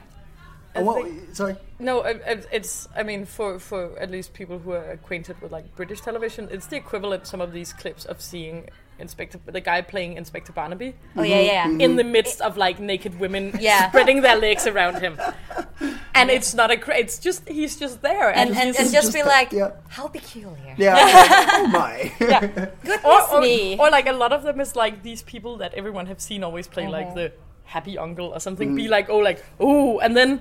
S7: And what- sorry.
S5: No, I- I- it's. I mean, for for at least people who are acquainted with like British television, it's the equivalent. Some of these clips of seeing Inspector, the guy playing Inspector Barnaby,
S7: Ah, Mm-hmm,
S6: oh yeah yeah
S5: in the midst of like naked women
S6: Yeah.
S5: spreading their legs around him, and it's not a. Cra- it's just he's just there,
S6: and,
S5: and,
S6: and, and
S5: he's-
S6: just, be
S7: that,
S6: like
S7: yeah.
S6: how peculiar
S7: Yeah. oh my.
S6: goodness
S5: or,
S6: me
S5: or like a lot of them is like these people that everyone have seen always play like
S6: Uh-huh.
S5: the happy uncle or something. Be like, oh, like oh, and then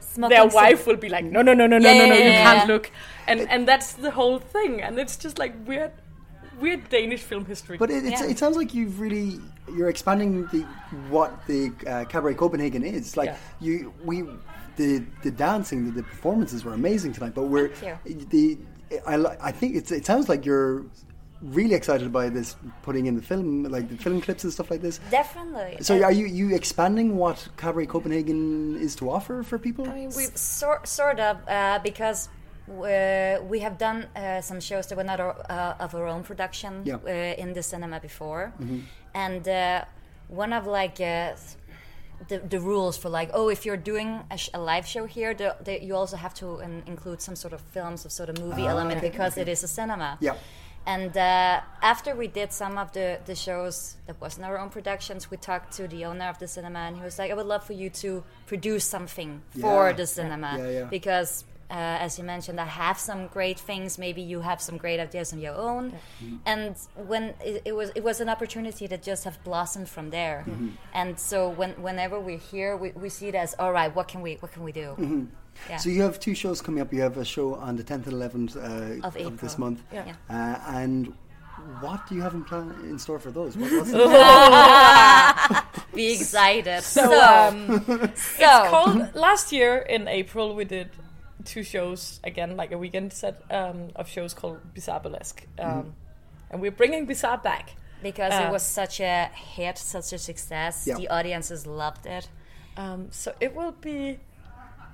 S6: Smoking
S5: their
S6: cig-
S5: wife will be like, no, no, no, no, no,
S6: Yeah,
S5: no,
S6: yeah,
S5: no, you
S6: yeah,
S5: can't
S6: yeah.
S5: look. And and that's the whole thing. And it's just like weird, weird Danish film history.
S7: But it, it's,
S6: Yeah.
S7: it sounds like you've really you're expanding the what the uh, cabaret Copenhagen is. Like
S5: Yeah.
S7: you, we, the the dancing, the, the performances were amazing tonight. But we're
S6: Thank
S7: the I, li- I think it's, it sounds like you're really excited by this putting in the film, like the film clips and stuff like this.
S6: definitely
S7: So are you you expanding what cabaret Copenhagen is to offer for people?
S6: sort sort of uh, because uh, we have done uh, some shows that were not our, uh, of our own production
S7: Yeah. Mm-hmm.
S6: uh, in the cinema before, and uh, one of like. Uh, the, the rules for like oh if you're doing a, sh- a live show here the, the, you also have to um, include some sort of films of sort of movie element because it is a cinema
S7: Ah, Yeah.
S6: and uh, after we did some of the, the shows that wasn't our own productions, we talked to the owner of the cinema, and he was like, "I would love for you to produce something for
S7: Yeah.
S6: the cinema
S7: Yeah, yeah.
S6: because, uh, as you mentioned, I have some great things. Maybe you have some great ideas on your own."
S7: Mm-hmm.
S6: And when it, it was, it was an opportunity that just have blossomed from there.
S7: Mm-hmm.
S6: And so when, whenever we're here, we, we see it as, "All right, what can we what can we do?"
S7: Mm-hmm. So you have two shows coming up. You have a show on the 10th and 11th uh,
S6: Of
S7: this
S6: April.
S7: month.
S6: Yeah.
S7: Uh, and what do you have in plan in store for those? What, what's
S6: Be excited. So,
S5: so, um,
S6: so
S5: called, last year in April we did two shows again, like a weekend set um, of shows called Bizarre Burlesque, um, and we're bringing Bizarre back.
S6: because
S5: Uh,
S6: it was such a hit, such a success.
S7: Yeah.
S6: The audiences loved it.
S5: Um, so it will be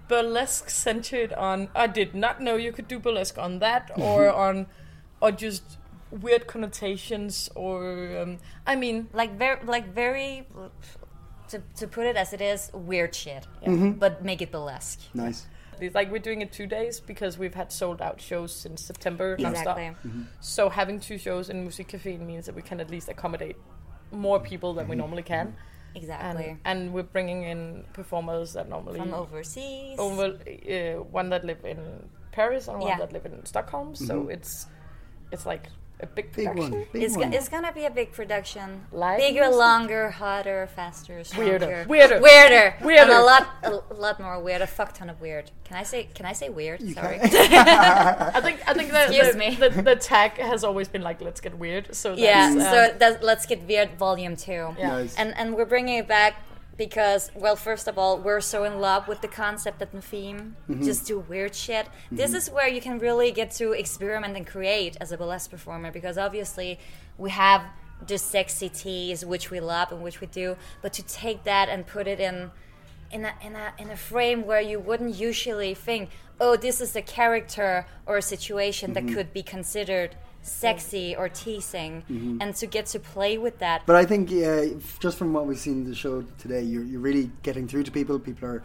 S5: burlesque centered on I did not know you could do burlesque on that or on or just weird connotations or um, I mean
S6: Like very, like very, to, to put it as it is, weird shit,
S5: Mm-hmm.
S6: but make it burlesque.
S7: nice?
S5: it's like we're doing it two days because we've had sold out shows since September nonstop.
S6: Exactly.
S7: Mm-hmm.
S5: So having two shows in Musikcaféen means that we can at least accommodate more people than
S7: Mm-hmm.
S5: we normally can. And,
S6: Exactly.
S5: and we're bringing in performers that normally
S6: From overseas.
S5: over uh, one that live in Paris and one
S6: Yeah.
S5: that live in Stockholm. So it's it's like a big
S7: Mm-hmm. Big
S5: production.
S7: one. Big
S6: It's, go-
S7: one.
S6: it's gonna be a big production.
S5: Live
S6: Bigger,
S5: music?
S6: longer, hotter, faster, stronger.
S5: Weirder.
S6: weirder,
S5: Weirder.
S6: and a lot, a lot more weird. A fuck ton of weird. Can I say? Can I say weird? Sorry.
S5: I think I think the,
S6: Excuse
S5: the,
S6: me.
S5: The, the tag has always been like let's get weird. So that's,
S6: Yeah,
S5: um,
S6: so that, let's get weird volume two.
S5: Yeah.
S7: Nice.
S6: And and we're bringing it back because well, first of all, we're so in love with the concept and the theme. Just do weird shit. This is where you can really get to experiment and create as a burlesque performer because obviously we have the sexy tease, which we love and which we do, but to take that and put it in in a, in a in a frame where you wouldn't usually think, oh, this is a character or a situation that could be considered sexy or teasing, and to get to play with that.
S7: But I think uh, just from what we've seen in the show today, you're, you're really getting through to people. People are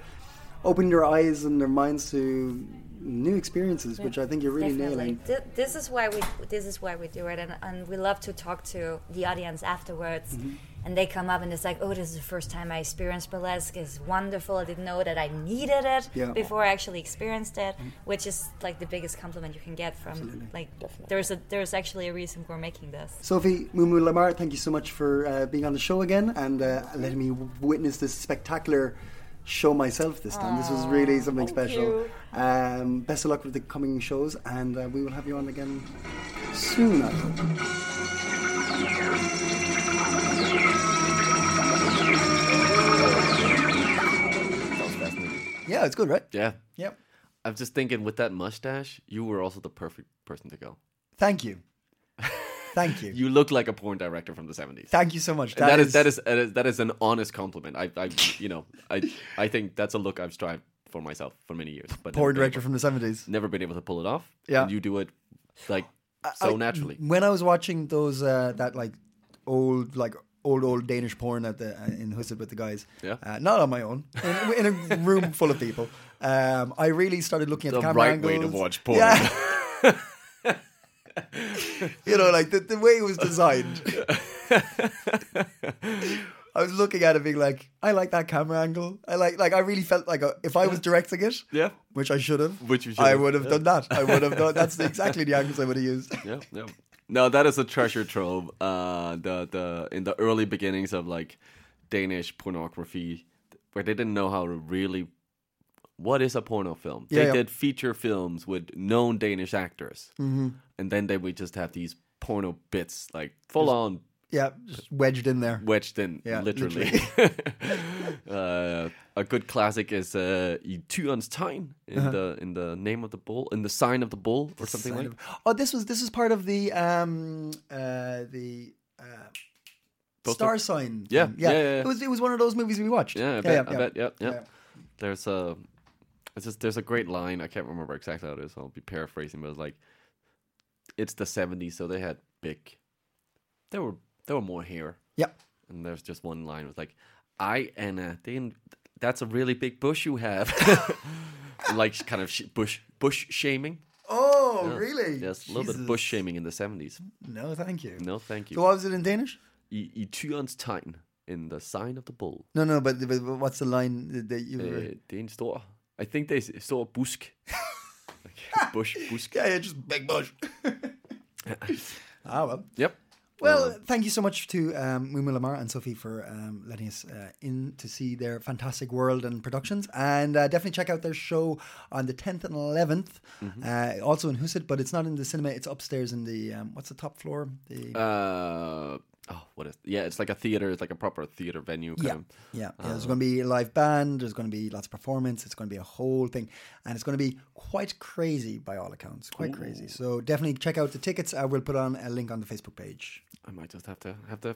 S7: opening their eyes and their minds to new experiences, which I think you're really
S6: Definitely.
S7: nailing.
S6: Th- this is why we this is why we do it, and, and we love to talk to the audience afterwards,
S7: Mm-hmm.
S6: and they come up and it's like, oh, this is the first time I experienced burlesque. It's wonderful. I didn't know that I needed it
S7: Yeah. Mm-hmm.
S6: before I actually experienced it, which is like the biggest compliment you can get from like there's a there's actually a reason we're making this.
S7: Sophie Mumu Lamar, thank you so much for uh, being on the show again and uh, letting me w- witness this spectacular show myself this time. This was really something special. Um, best of luck with the coming shows, and uh, we will have you on again soon. I hope.
S1: Yeah, it's good, right?
S2: Yeah.
S1: Yep.
S2: I'm just thinking with that mustache, you were also the perfect person to go.
S1: Thank you. Thank you.
S2: You look like a porn director from the 70s.
S1: Thank you so much.
S2: And that is that is that is that is an honest compliment. I, I you know I I think that's a look I've strived for myself for many years, but never
S1: porn
S2: been
S1: director
S2: able-
S1: from the seventies.
S2: never been able to pull it off.
S1: Yeah.
S2: and you do it like so
S1: I-
S2: naturally.
S1: When I was watching those uh, that like old like old old Danish porn at the uh, in Huset with the guys,
S2: Yeah.
S1: uh, not on my own, in, in a room full of people, um, I really started looking at the,
S2: The
S1: camera
S2: right
S1: angles.
S2: way to watch porn.
S1: Yeah. you know, like the, the way it was designed. I was looking at it being like, I like that camera angle. I like, like I really felt like a, if I was directing it,
S2: Yeah.
S1: which I should have,
S2: Which you should
S1: I
S2: have,
S1: would have done that. I would have done. That's exactly the angles I would have used.
S2: yeah, yeah. No, that is a treasure trove. Uh, the the in the early beginnings of like Danish pornography, where they didn't know how to really what is a porno film.
S1: Yeah,
S2: they
S1: yeah.
S2: did feature films with known Danish actors,
S1: Mm-hmm.
S2: and then they would just have these porno bits like full on
S1: Yeah, just wedged in there.
S2: wedged in,
S1: Yeah,
S2: literally. uh, a good classic is uh, "I Tyran's Tegn" in the in the name of the bull, in the sign of Uh-huh. the bull, or something like.
S1: Oh, this was this is part of the um uh the uh, star sign.
S2: Yeah,
S1: thing.
S2: yeah, yeah, yeah.
S1: It was it was one of those movies we watched.
S2: Yeah, I bet. I bet. Yep, yep.
S1: Yeah.
S2: There's a, it's just there's a great line. I can't remember exactly how it is. I'll be paraphrasing, but it's like, it's the '70s, so they had big. There were there were more hair,
S1: Yep.
S2: and there's just one line was like, "I Anna, they, in- that's a really big bush you have," like kind of sh- bush bush shaming.
S1: Oh, really?
S2: Yes, a little bit of
S1: Jesus.
S2: bush shaming in the '70s.
S1: No, thank you.
S2: No, thank you.
S1: So what was it in Danish?
S2: I, I Tyran's tegn in the sign of the bull.
S1: No, no, but, but what's the line that- that you were?
S2: Øh, det er en stor... I think they s- stor busk. Like, bush, busk.
S1: yeah, yeah, just big bush. ah well.
S2: Yep.
S1: Well, thank you so much to um, Mumu Lamar and Sophie for um, letting us uh, in to see their fantastic world and productions. And uh, definitely check out their show on the 10th and 11th, uh, also in Huset, but it's not in the cinema. It's upstairs in the, um, what's the top floor? The,
S2: Uh, oh, what is... Yeah, it's like a theater. It's like a proper theater venue. Kind
S1: yeah,
S2: of.
S1: yeah, yeah. There's going to be a live band. There's going to be lots of performance. It's going to be a whole thing, and it's going to be quite crazy by all accounts. Quite crazy. So definitely check out the tickets. I will put on a link on the Facebook page.
S2: I might just have to have to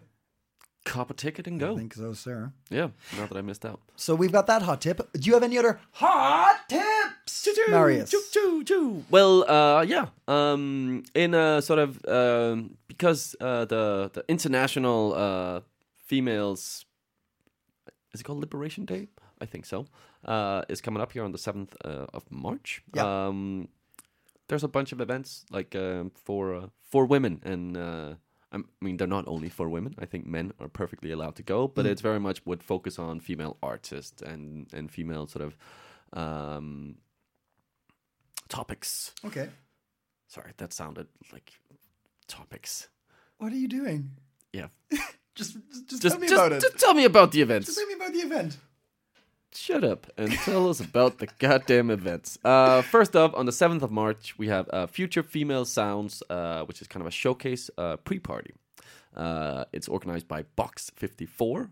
S2: cop a ticket and
S1: I
S2: go.
S1: think so, sir.
S2: Yeah, now that I missed out.
S1: So we've got that hot tip. Do you have any other hot tips, Marius?
S2: Choo, choo, choo. Well, uh, yeah. Um, in a sort of um, because uh, the the international uh, females is it called Liberation Day? I think so. Uh, is coming up here on the seventh uh, of March.
S1: Yeah.
S2: Um, there's a bunch of events like um, for uh, for women, and uh, I'm- I mean they're not only for women. I think men are perfectly allowed to go,
S1: Mm.
S2: but it's very much would focus on female artists and and female sort of um, topics.
S1: Okay.
S2: Sorry, that sounded like topics.
S1: What are you doing?
S2: Yeah,
S1: Just, just, just
S2: just
S1: tell me
S2: just,
S1: about it.
S2: just tell me about the events.
S1: Just tell me about the event.
S2: shut up and tell us about the goddamn events. Uh, first up, on the 7th of March, we have uh, Future Female Sounds, uh, which is kind of a showcase uh, pre party. Uh, it's organized by Box 54 uh,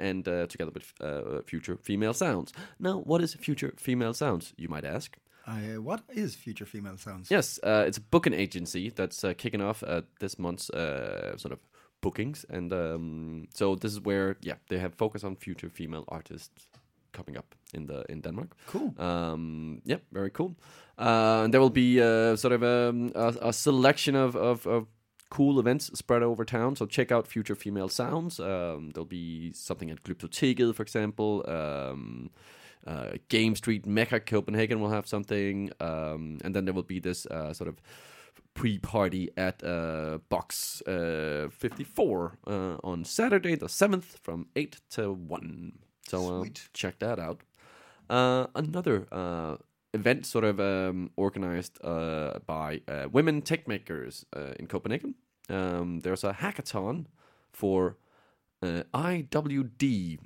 S2: and uh, together with uh, Future Female Sounds. Now, what is Future Female Sounds, you might ask?
S1: Uh, what is future female sounds?
S2: Yes, uh, it's a booking agency that's uh, kicking off uh, this month's uh, sort of bookings, and um, so this is where yeah they have focus on future female artists coming up in the in Denmark.
S1: Cool.
S2: Um, yeah, very cool. Uh, and there will be uh, sort of um, a, a selection of, of, of cool events spread over town. So check out Future Female Sounds. Um, there'll be something at Glyptoteket, for example. Um, uh, Game Street Mecca Copenhagen will have something. Um, and then there will be this uh, sort of pre-party at uh, Box uh, 54 uh, on Saturday the 7th from 8 to 1. So uh,
S1: Sweet.
S2: check that out. Uh, another uh, event sort of um, organized uh, by uh, women tech makers uh, in Copenhagen. Um, there's a hackathon for uh, IWD,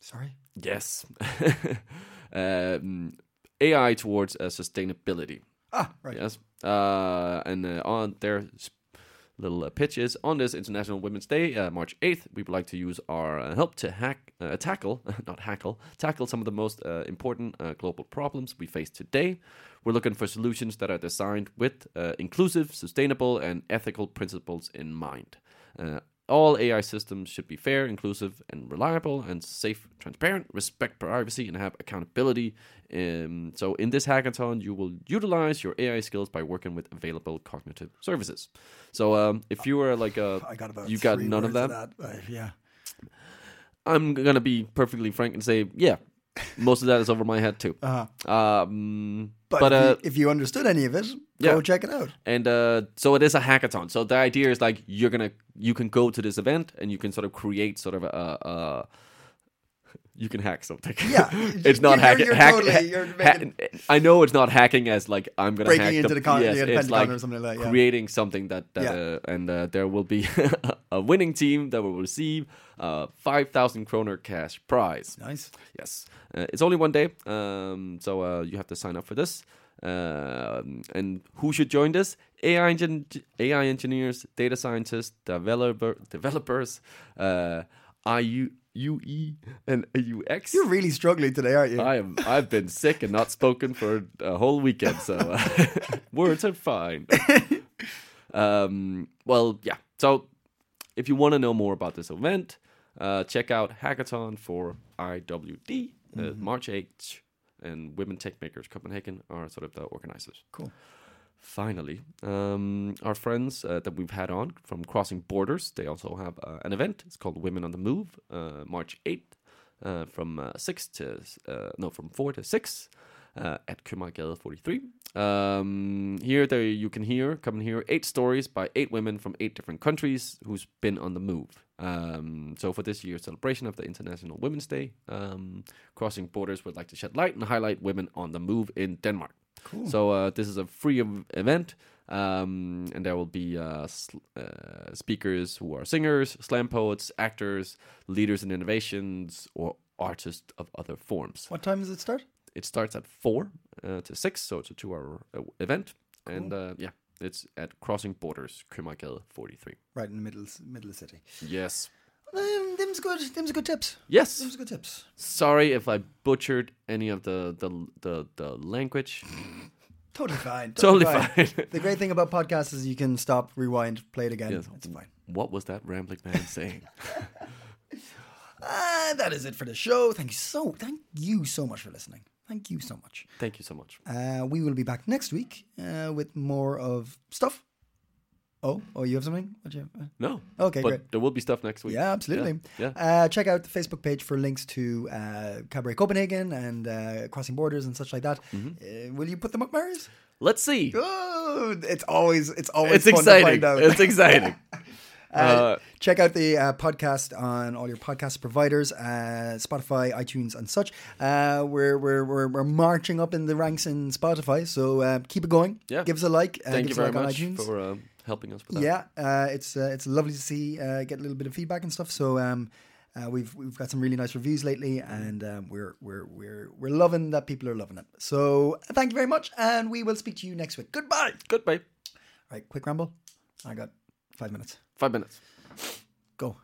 S1: Sorry.
S2: Yes. um, AI towards uh, sustainability.
S1: Ah, right.
S2: Yes. Uh, and uh, on their s- little uh, pitch is on this International Women's Day, uh, March 8th, we would like to use our uh, help to hack, uh, tackle, not hackle, tackle some of the most uh, important uh, global problems we face today. We're looking for solutions that are designed with uh, inclusive, sustainable, and ethical principles in mind. Uh, all AI systems should be fair, inclusive, and reliable, and safe, transparent, respect privacy, and have accountability. Um, so, in this hackathon, you will utilize your AI skills by working with available cognitive services. So, um, if you are like a,
S1: I got about
S2: you got
S1: three
S2: none of
S1: words
S2: that.
S1: Uh, yeah.
S2: I'm gonna be perfectly frank and say, yeah, most of that is over my head too. Um,
S1: Uh-huh. But,
S2: but uh,
S1: if, you, if you understood any of it,
S2: yeah.
S1: go check it out.
S2: and uh, so it is a hackathon. So the idea is like you're gonna you can go to this event and you can sort of create sort of a, a you can hack something.
S1: Yeah.
S2: it's not
S1: You're-
S2: hacking.
S1: you're
S2: hack,
S1: totally-
S2: ha-
S1: you're
S2: ha-
S1: making-
S2: I know it's not hacking as like I'm gonna
S1: Breaking
S2: hack
S1: into the con-
S2: yes,
S1: the
S2: it's
S1: Pentagon
S2: like
S1: or something like that, yeah.
S2: creating something that, that
S1: Yeah.
S2: uh, and uh, there will be a winning team that will receive uh, five thousand kroner cash prize.
S1: Nice.
S2: Yes, uh, it's only one day, um, so uh, you have to sign up for this. Um and who should join this? AI, engin- AI engineers, data scientists, developer developers, uh, IU, UE, E and UX.
S1: You're really struggling today, aren't you?
S2: I am. I've been sick and not spoken for a whole weekend, so uh, words are fine. Um, well, yeah. So, if you want to know more about this event, uh, check out Hackathon for IWD, uh, March 8th, and Women Tech Makers Copenhagen are sort of the organizers.
S1: Cool.
S2: Finally, um, our friends uh, that we've had on from Crossing Borders, they also have uh, an event. It's called Women on the Move, uh, March 8th, uh, from uh, 6 to, uh, no, from 4 to 6 uh, at Købmagergade 43. Um, here there you can hear, come and hear eight stories by eight women from eight different countries who's been on the move. Um, so for this year's celebration of the International Women's Day, um, Crossing Borders would like to shed light and highlight women on the move in Denmark. So uh, this is a free ev- event, um, and there will be uh, sl- uh, speakers who are singers, slam poets, actors, leaders in innovations, or artists of other forms.
S1: What time does it start?
S2: It starts at four uh, to six, so it's a two-hour uh, event, and uh, yeah, it's at Crossing Borders, Købmagergade 43.
S1: Right in the middle middle of the city.
S2: Yes.
S1: Um, them's good. Them's good tips. Them's
S2: Yes.
S1: good tips.
S2: Sorry if I butchered any of the the the, the language.
S1: Totally fine.
S2: Totally fine.
S1: the great thing about podcasts is you can stop, rewind, play it again.
S2: Yes.
S1: It's fine.
S2: What was that rambling man saying?
S1: And that is it for the show. Thank you so thank you so much for listening. Thank you so much.
S2: Thank you so much.
S1: Uh, we will be back next week uh, with more of stuff. Oh, oh, you have something? What do you have?
S2: No.
S1: Okay,
S2: but
S1: great.
S2: there will be stuff next week.
S1: Yeah, absolutely.
S2: Yeah.
S1: Uh, check out the Facebook page for links to uh, Cabaret Copenhagen and uh, Crossing Borders and such like that.
S2: Mm-hmm.
S1: Uh, will you put them up, Marius?
S2: Let's see.
S1: Oh, it's always it's always
S2: It's
S1: fun To
S2: exciting.
S1: find out.
S2: It's exciting. Uh,
S1: Check out the uh, podcast on all your podcast providers, uh, Spotify, iTunes, and such. Uh, we're, we're, we're, we're marching up in the ranks in Spotify, so uh, keep it going.
S2: Yeah.
S1: Give us a like. Uh,
S2: thank
S1: give
S2: you
S1: us a
S2: very
S1: like on
S2: much
S1: iTunes.
S2: for uh, helping us with that.
S1: yeah, uh, it's uh, it's lovely to see uh, get a little bit of feedback and stuff. So um, uh, we've we've got some really nice reviews lately, and um, we're we're we're we're loving that people are loving it. So thank you very much, and we will speak to you next week. Goodbye.
S2: Goodbye.
S1: All right, quick ramble. I got five minutes.
S2: Five minutes.
S1: Go.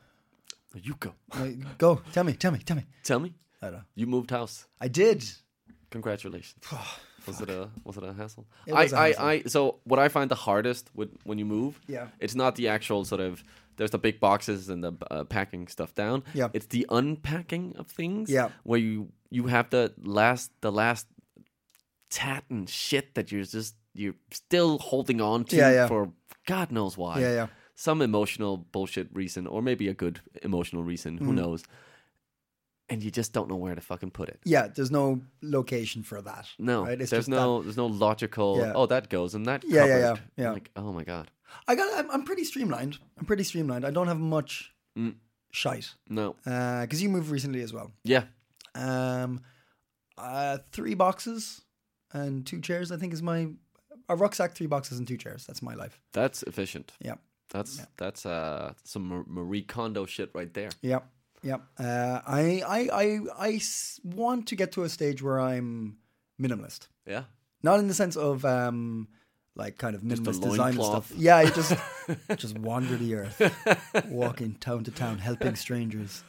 S2: You go.
S1: Uh, Go. Tell me. Tell me. Tell me.
S2: Tell me.
S1: I don't know.
S2: You moved house.
S1: I did.
S2: Congratulations. was it a was it a hassle?
S1: It
S2: I,
S1: was a
S2: I,
S1: hassle.
S2: I so what I find the hardest with when you move,
S1: Yeah.
S2: it's not the actual sort of there's the big boxes and the uh, packing stuff down.
S1: Yeah.
S2: It's the unpacking of things.
S1: Yeah.
S2: Where you you have the last the last tat and shit that you're just you're still holding on to
S1: Yeah, yeah.
S2: for God knows why.
S1: Yeah, yeah.
S2: Some emotional bullshit reason, or maybe a good emotional reason.
S1: Mm.
S2: Who knows? And you just don't know where to fucking put it.
S1: Yeah, there's no location for that.
S2: No,
S1: right?
S2: there's
S1: that-
S2: no there's no logical.
S1: Yeah.
S2: Oh, that goes and that.
S1: Yeah, yeah,
S2: cupboard."
S1: yeah, yeah.
S2: Like, oh my god,
S1: I got. I'm, I'm pretty streamlined. I'm pretty streamlined. I don't have much
S2: Mm.
S1: shite
S2: no,
S1: because you moved recently as well.
S2: yeah,
S1: Um, uh, three boxes and two chairs. I think is my a rucksack, three boxes and two chairs. That's my life.
S2: that's efficient.
S1: Yeah,
S2: That's that's uh some Mar- Marie Kondo shit right there.
S1: yeah, yeah. Uh, I, I, I, I s- want to get to a stage where I'm minimalist.
S2: Yeah,
S1: not in the sense of um like kind of
S2: a
S1: minimalist
S2: loin
S1: design and
S2: cloth.
S1: stuff. Yeah, you just just wander the earth, walking town to town, helping strangers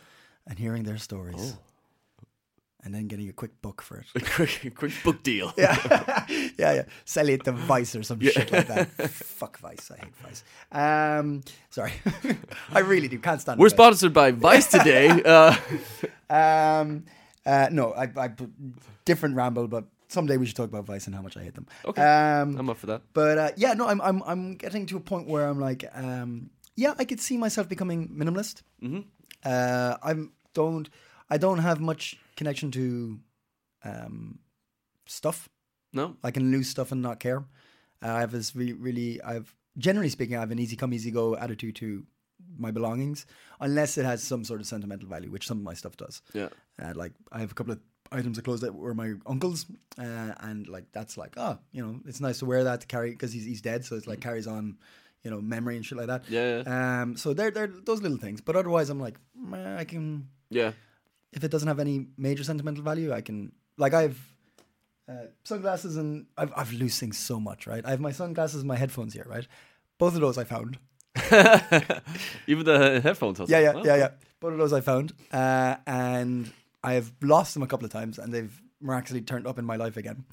S1: and hearing their
S2: Oh.
S1: stories, and then getting a quick book for it.
S2: quick quick book deal.
S1: yeah, yeah, sell it to Vice or some shit like that. Fuck Vice, I hate Vice. Um, sorry, I really do. Can't stand.
S2: We're
S1: it, but-
S2: sponsored by Vice today. Uh,
S1: Um, uh, no, I, I different ramble, but someday we should talk about Vice and how much I hate them.
S2: Okay.
S1: um,
S2: I'm up for that.
S1: But uh, yeah, no, I'm I'm I'm getting to a point where I'm like, um, yeah, I could see myself becoming minimalist. Mm-hmm. Uh, I'm don't I don't have much connection to um, stuff.
S2: No,
S1: I can lose stuff and not care. Uh, I have this re- really, I've generally speaking, I have an easy come, easy go attitude to my belongings, unless it has some sort of sentimental value, which some of my stuff does.
S2: Yeah.
S1: Uh, like I have a couple of items of clothes that were my uncle's, uh, and like that's like, oh, you know, it's nice to wear that to carry because he's he's dead, so it's like carries on, you know, memory and shit like that.
S2: Mm. Yeah,
S1: Um. So they're they're those little things, but otherwise, I'm like, meh, I can
S2: yeah,
S1: if it doesn't have any major sentimental value, I can like I've uh, sunglasses and I've I've loose things so much, right? I have my sunglasses, and my headphones here, right? Both of those I found.
S2: even the headphones. I was
S1: Yeah,
S2: like,
S1: yeah,
S2: well,
S1: yeah, yeah. Both of those I found, uh, and I've lost them a couple of times, and they've miraculously turned up in my life again.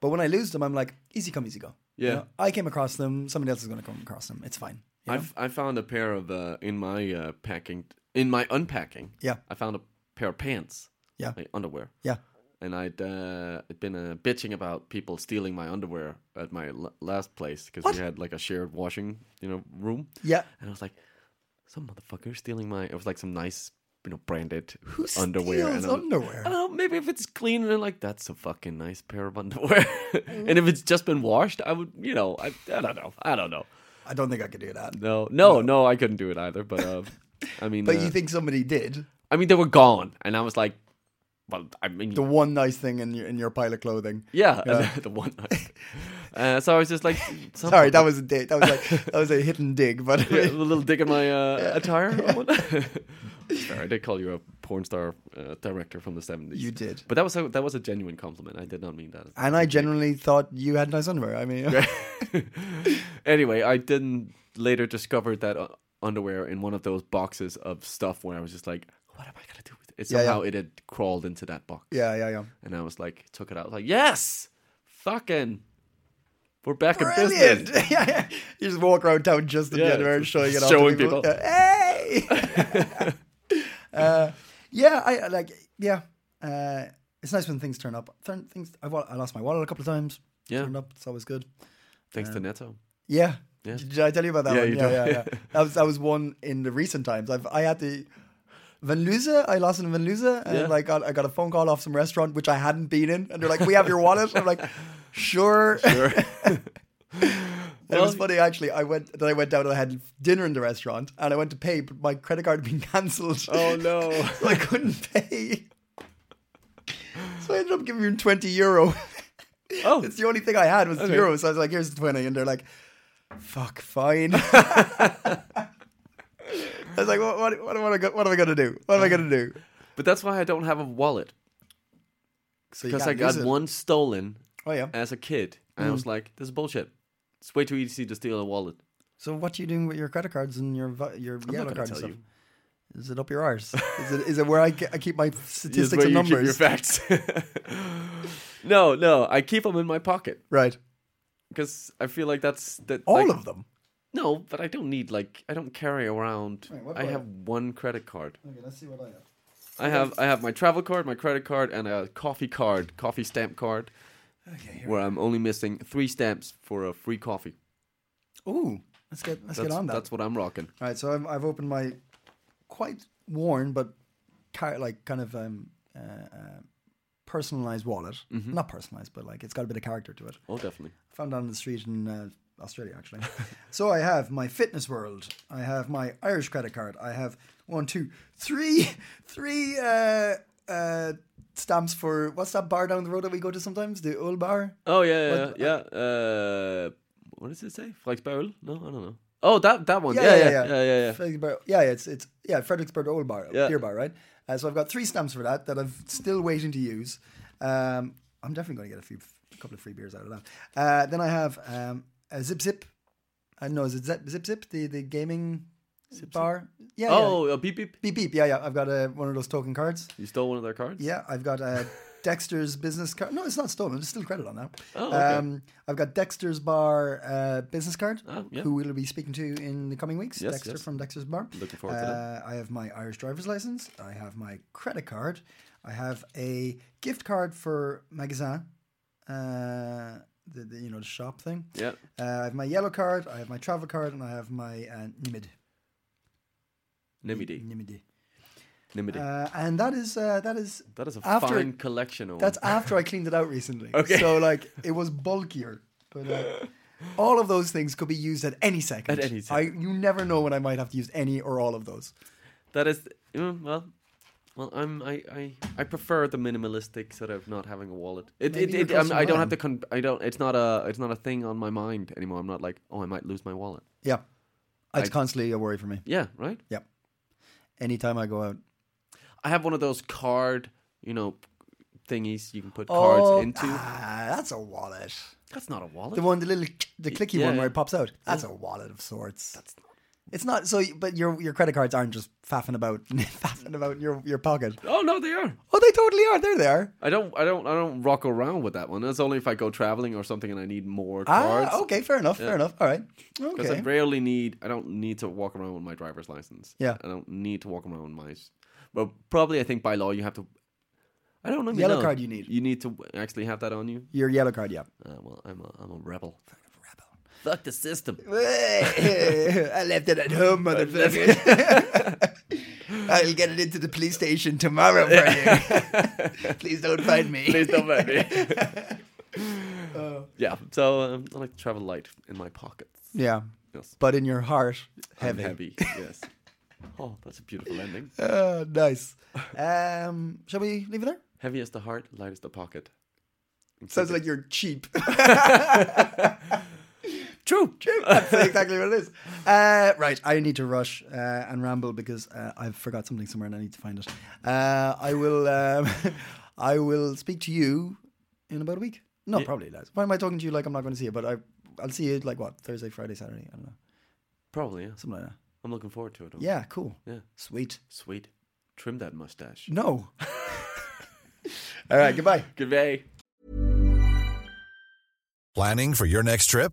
S1: But when I lose them, I'm like, easy come, easy go. You
S2: Oh. Yeah.
S1: know, I came across them. Somebody else is going to come across them. It's fine. you know?
S2: I've I found a pair of uh, in my uh, packing in my unpacking.
S1: Yeah.
S2: I found a pair of pants.
S1: Yeah.
S2: like underwear.
S1: yeah,
S2: and I'd uh, I'd been uh, bitching about people stealing my underwear at my l- last place because we had like a shared washing, you know, room.
S1: yeah.
S2: And I was like, some motherfucker stealing my. It was like some nice, you know, branded
S1: Who
S2: underwear.
S1: steals
S2: and I was-
S1: underwear?
S2: I don't know. Maybe if it's clean and I'm like that's a fucking nice pair of underwear. and if it's just been washed, I would, you know, I, I don't know. I don't know.
S1: I don't think I could do that.
S2: No, no, no. I couldn't do it either. But uh, I mean,
S1: But
S2: uh,
S1: you think somebody did?
S2: I mean, they were gone, and I was like, well, I mean,
S1: the one nice thing in your in your pile of clothing.
S2: Yeah, the one. uh, so I was just like, some-
S1: Sorry, that was a dig. That was like that was a hidden dig, but
S2: a little dick in my uh, attire. or what? Sorry, I did call you a porn star uh, director from the seventies.
S1: You did.
S2: but that was a, that was a genuine compliment. I did not mean that.
S1: and I generally thought you had nice underwear. I mean,
S2: anyway, I didn't later discover that uh, underwear in one of those boxes of stuff where I was just like, what am I gonna do with it? It
S1: Yeah, yeah.
S2: somehow it had crawled into that box.
S1: yeah, yeah, yeah.
S2: and I was like, took it out. I was like, yes, fucking, we're back in
S1: Brilliant!
S2: business.
S1: yeah, yeah. You just walk around town just in
S2: Yeah,
S1: the underwear, and showing it off.
S2: showing
S1: to people.
S2: people.
S1: Yeah. Hey. uh, yeah, I I like. Yeah, uh, it's nice when things turn up. Turn things. I, wa- I lost my wallet a couple of times.
S2: Yeah.
S1: turned up. It's always good.
S2: Thanks to Neto.
S1: Yeah.
S2: Yeah.
S1: Did I tell you about that
S2: Yeah,
S1: one?
S2: you
S1: yeah,
S2: did.
S1: yeah, yeah. That was that was one in the recent times. I've I had to Vanluza, I lost in Vanluza and
S2: Yeah.
S1: I got I got a phone call off some restaurant which I hadn't been in and they're like, We have your wallet. I'm like, sure. Sure. it was funny actually. I went then I went down and I had dinner in the restaurant and I went to pay, but my credit card had been cancelled.
S2: Oh, no.
S1: so I couldn't pay. So I ended up giving him twenty euro.
S2: Oh,
S1: It's the only thing I had was euros. So I was like, here's 20. And they're like, fuck, fine. I was like, what, what, what, am I go- what am I going to do? What am I going to do?
S2: But that's why I don't have a wallet
S1: So you
S2: because I
S1: can't
S2: got
S1: use it. Mm.
S2: one stolen
S1: Oh, yeah.
S2: as a kid, and I was like, "This is bullshit. It's way too easy to steal a wallet."
S1: So what are you doing with your credit cards and your vi- your
S2: I'm
S1: yellow card
S2: not gonna
S1: and
S2: tell
S1: stuff?
S2: you.
S1: Is it up your arse? is, it, is it where I, ke- I keep my
S2: It's
S1: statistics
S2: where
S1: and
S2: you
S1: numbers?
S2: keep your facts. no, no, I keep them in my pocket
S1: Right.
S2: because I feel like that's that.
S1: All
S2: like-
S1: of them.
S2: No, but I don't need like I don't carry around.
S1: Right, what
S2: I
S1: do I
S2: have
S1: have?
S2: one credit card.
S1: Okay, let's see what I have.
S2: I have I have my travel card, my credit card, and a coffee card, coffee stamp card,
S1: Okay,
S2: where I'm only missing three stamps for a free coffee.
S1: Ooh, let's get let's
S2: That's,
S1: get on that.
S2: that's what I'm rocking.
S1: All right, so I've, I've opened my quite worn but car- like kind of um, uh, uh, personalized wallet. Not personalized, but like it's got a bit of character to it.
S2: Oh, definitely.
S1: Found on the street in uh, Australia, actually. so I have my Fitness World. I have my Irish credit card. I have one, two, three, three uh, uh, stamps for what's that bar down the road that we go to sometimes? The old bar.
S2: Oh yeah, yeah, yeah. Uh, what does it say? Flagsbarrel? No, I don't know. Oh, that that one. Yeah, yeah, yeah, yeah, yeah.
S1: Fredericksburg- yeah, it's it's yeah, Fredericksburg Old Bar,
S2: Yeah.
S1: Beer Bar, right? Uh, so I've got three stamps for that that I'm still waiting to use. Um, I'm definitely going to get a few, a couple of free beers out of that. Uh, then I have um, a Zip Zip. I know is it Zip Zip Zip the the gaming bar? Yeah. yeah.
S2: Oh, uh, beep beep.
S1: Beep beep. Yeah, yeah. I've got uh one of those token cards.
S2: You stole one of their cards.
S1: Yeah, I've got uh, Dexter's business card. No, it's not stolen. It's still credit on that. Um,
S2: Oh, okay.
S1: I've got Dexter's bar uh, business card,
S2: Oh, yeah.
S1: who we'll be speaking to in the coming weeks.
S2: Yes,
S1: Dexter
S2: yes.
S1: from Dexter's bar.
S2: Looking forward
S1: uh,
S2: to that.
S1: I have my Irish driver's license. I have my credit card. I have a gift card for Magazin, uh, the, the you know the shop thing.
S2: Yeah.
S1: Uh, I have my yellow card. I have my travel card, and I have my uh, Nimid.
S2: Nimidi.
S1: Nimid.
S2: Nimidi.
S1: Uh, and that is uh, that is
S2: that is a
S1: after-
S2: fine collection. Owen.
S1: That's after I cleaned it out recently.
S2: Okay.
S1: So like it was bulkier, but uh, all of those things could be used at any second.
S2: At any
S1: I, you never know when I might have to use any or all of those.
S2: that is mm, well. Well, I'm I, I I prefer the minimalistic sort of not having a wallet. It, it,
S1: Maybe
S2: it
S1: you're
S2: I'm, I don't
S1: customizing.
S2: have to con- I don't it's not a it's not a thing on my mind anymore. I'm not like oh I might lose my wallet.
S1: Yeah. It's
S2: I-
S1: constantly a worry for me.
S2: Yeah, right.
S1: Yep. Anytime I go out.
S2: I have one of those card you know thingies you can put
S1: Oh,
S2: cards into.
S1: Ah, that's a wallet.
S2: That's not a wallet.
S1: The one, the little, the clicky
S2: yeah,
S1: one where
S2: yeah.
S1: it pops out. That's a wallet of sorts. That's not. It's not so, but your your credit cards aren't just faffing about, faffing about in your your pocket.
S2: oh no, they are.
S1: Oh, they totally are. They're there.
S2: I don't, I don't, I don't rock around with that one. That's only if I go traveling or something and I need more cards.
S1: Ah, okay, fair enough, fair enough. All right,
S2: Because
S1: okay.
S2: I rarely need. I don't need to walk around with my driver's license.
S1: Yeah.
S2: I don't need to walk around with my. s- Well, probably I think by law you have to. I don't know.
S1: Yellow
S2: no.
S1: card you need.
S2: You need to w- actually have that on you.
S1: Your yellow card, yeah.
S2: Uh, well, I'm a, I'm a rebel. Fuck the system.
S1: I left it at home, motherfucker. I'll get it into the police station tomorrow for you. Please don't find me.
S2: Please don't mind me.
S1: Oh.
S2: Yeah. So um, I like to travel light in my pockets.
S1: Yeah,
S2: Yes.
S1: but in your heart,
S2: I'm
S1: heavy.
S2: heavy. Yes. Oh, that's a beautiful ending.
S1: Ah, nice. Um, shall we leave it there?
S2: Heavy as the heart, light as the pocket.
S1: Sounds like you're cheap. True. True. That's exactly what it is. Uh, right. I need to rush uh, and ramble because uh, I forgot something somewhere and I need to find it. Uh, I will. Um, I will speak to you in about a week. No, probably less. Why am I talking to you like I'm not going to see you? But I, I'll see you like what Thursday, Friday, Saturday. I don't know,
S2: Probably. Yeah.
S1: something like that.
S2: I'm looking forward to it. Owen.
S1: Yeah. Cool.
S2: Yeah.
S1: Sweet.
S2: Sweet. Trim that mustache.
S1: No. All right. Goodbye.
S2: Goodbye.
S8: Planning for your next trip?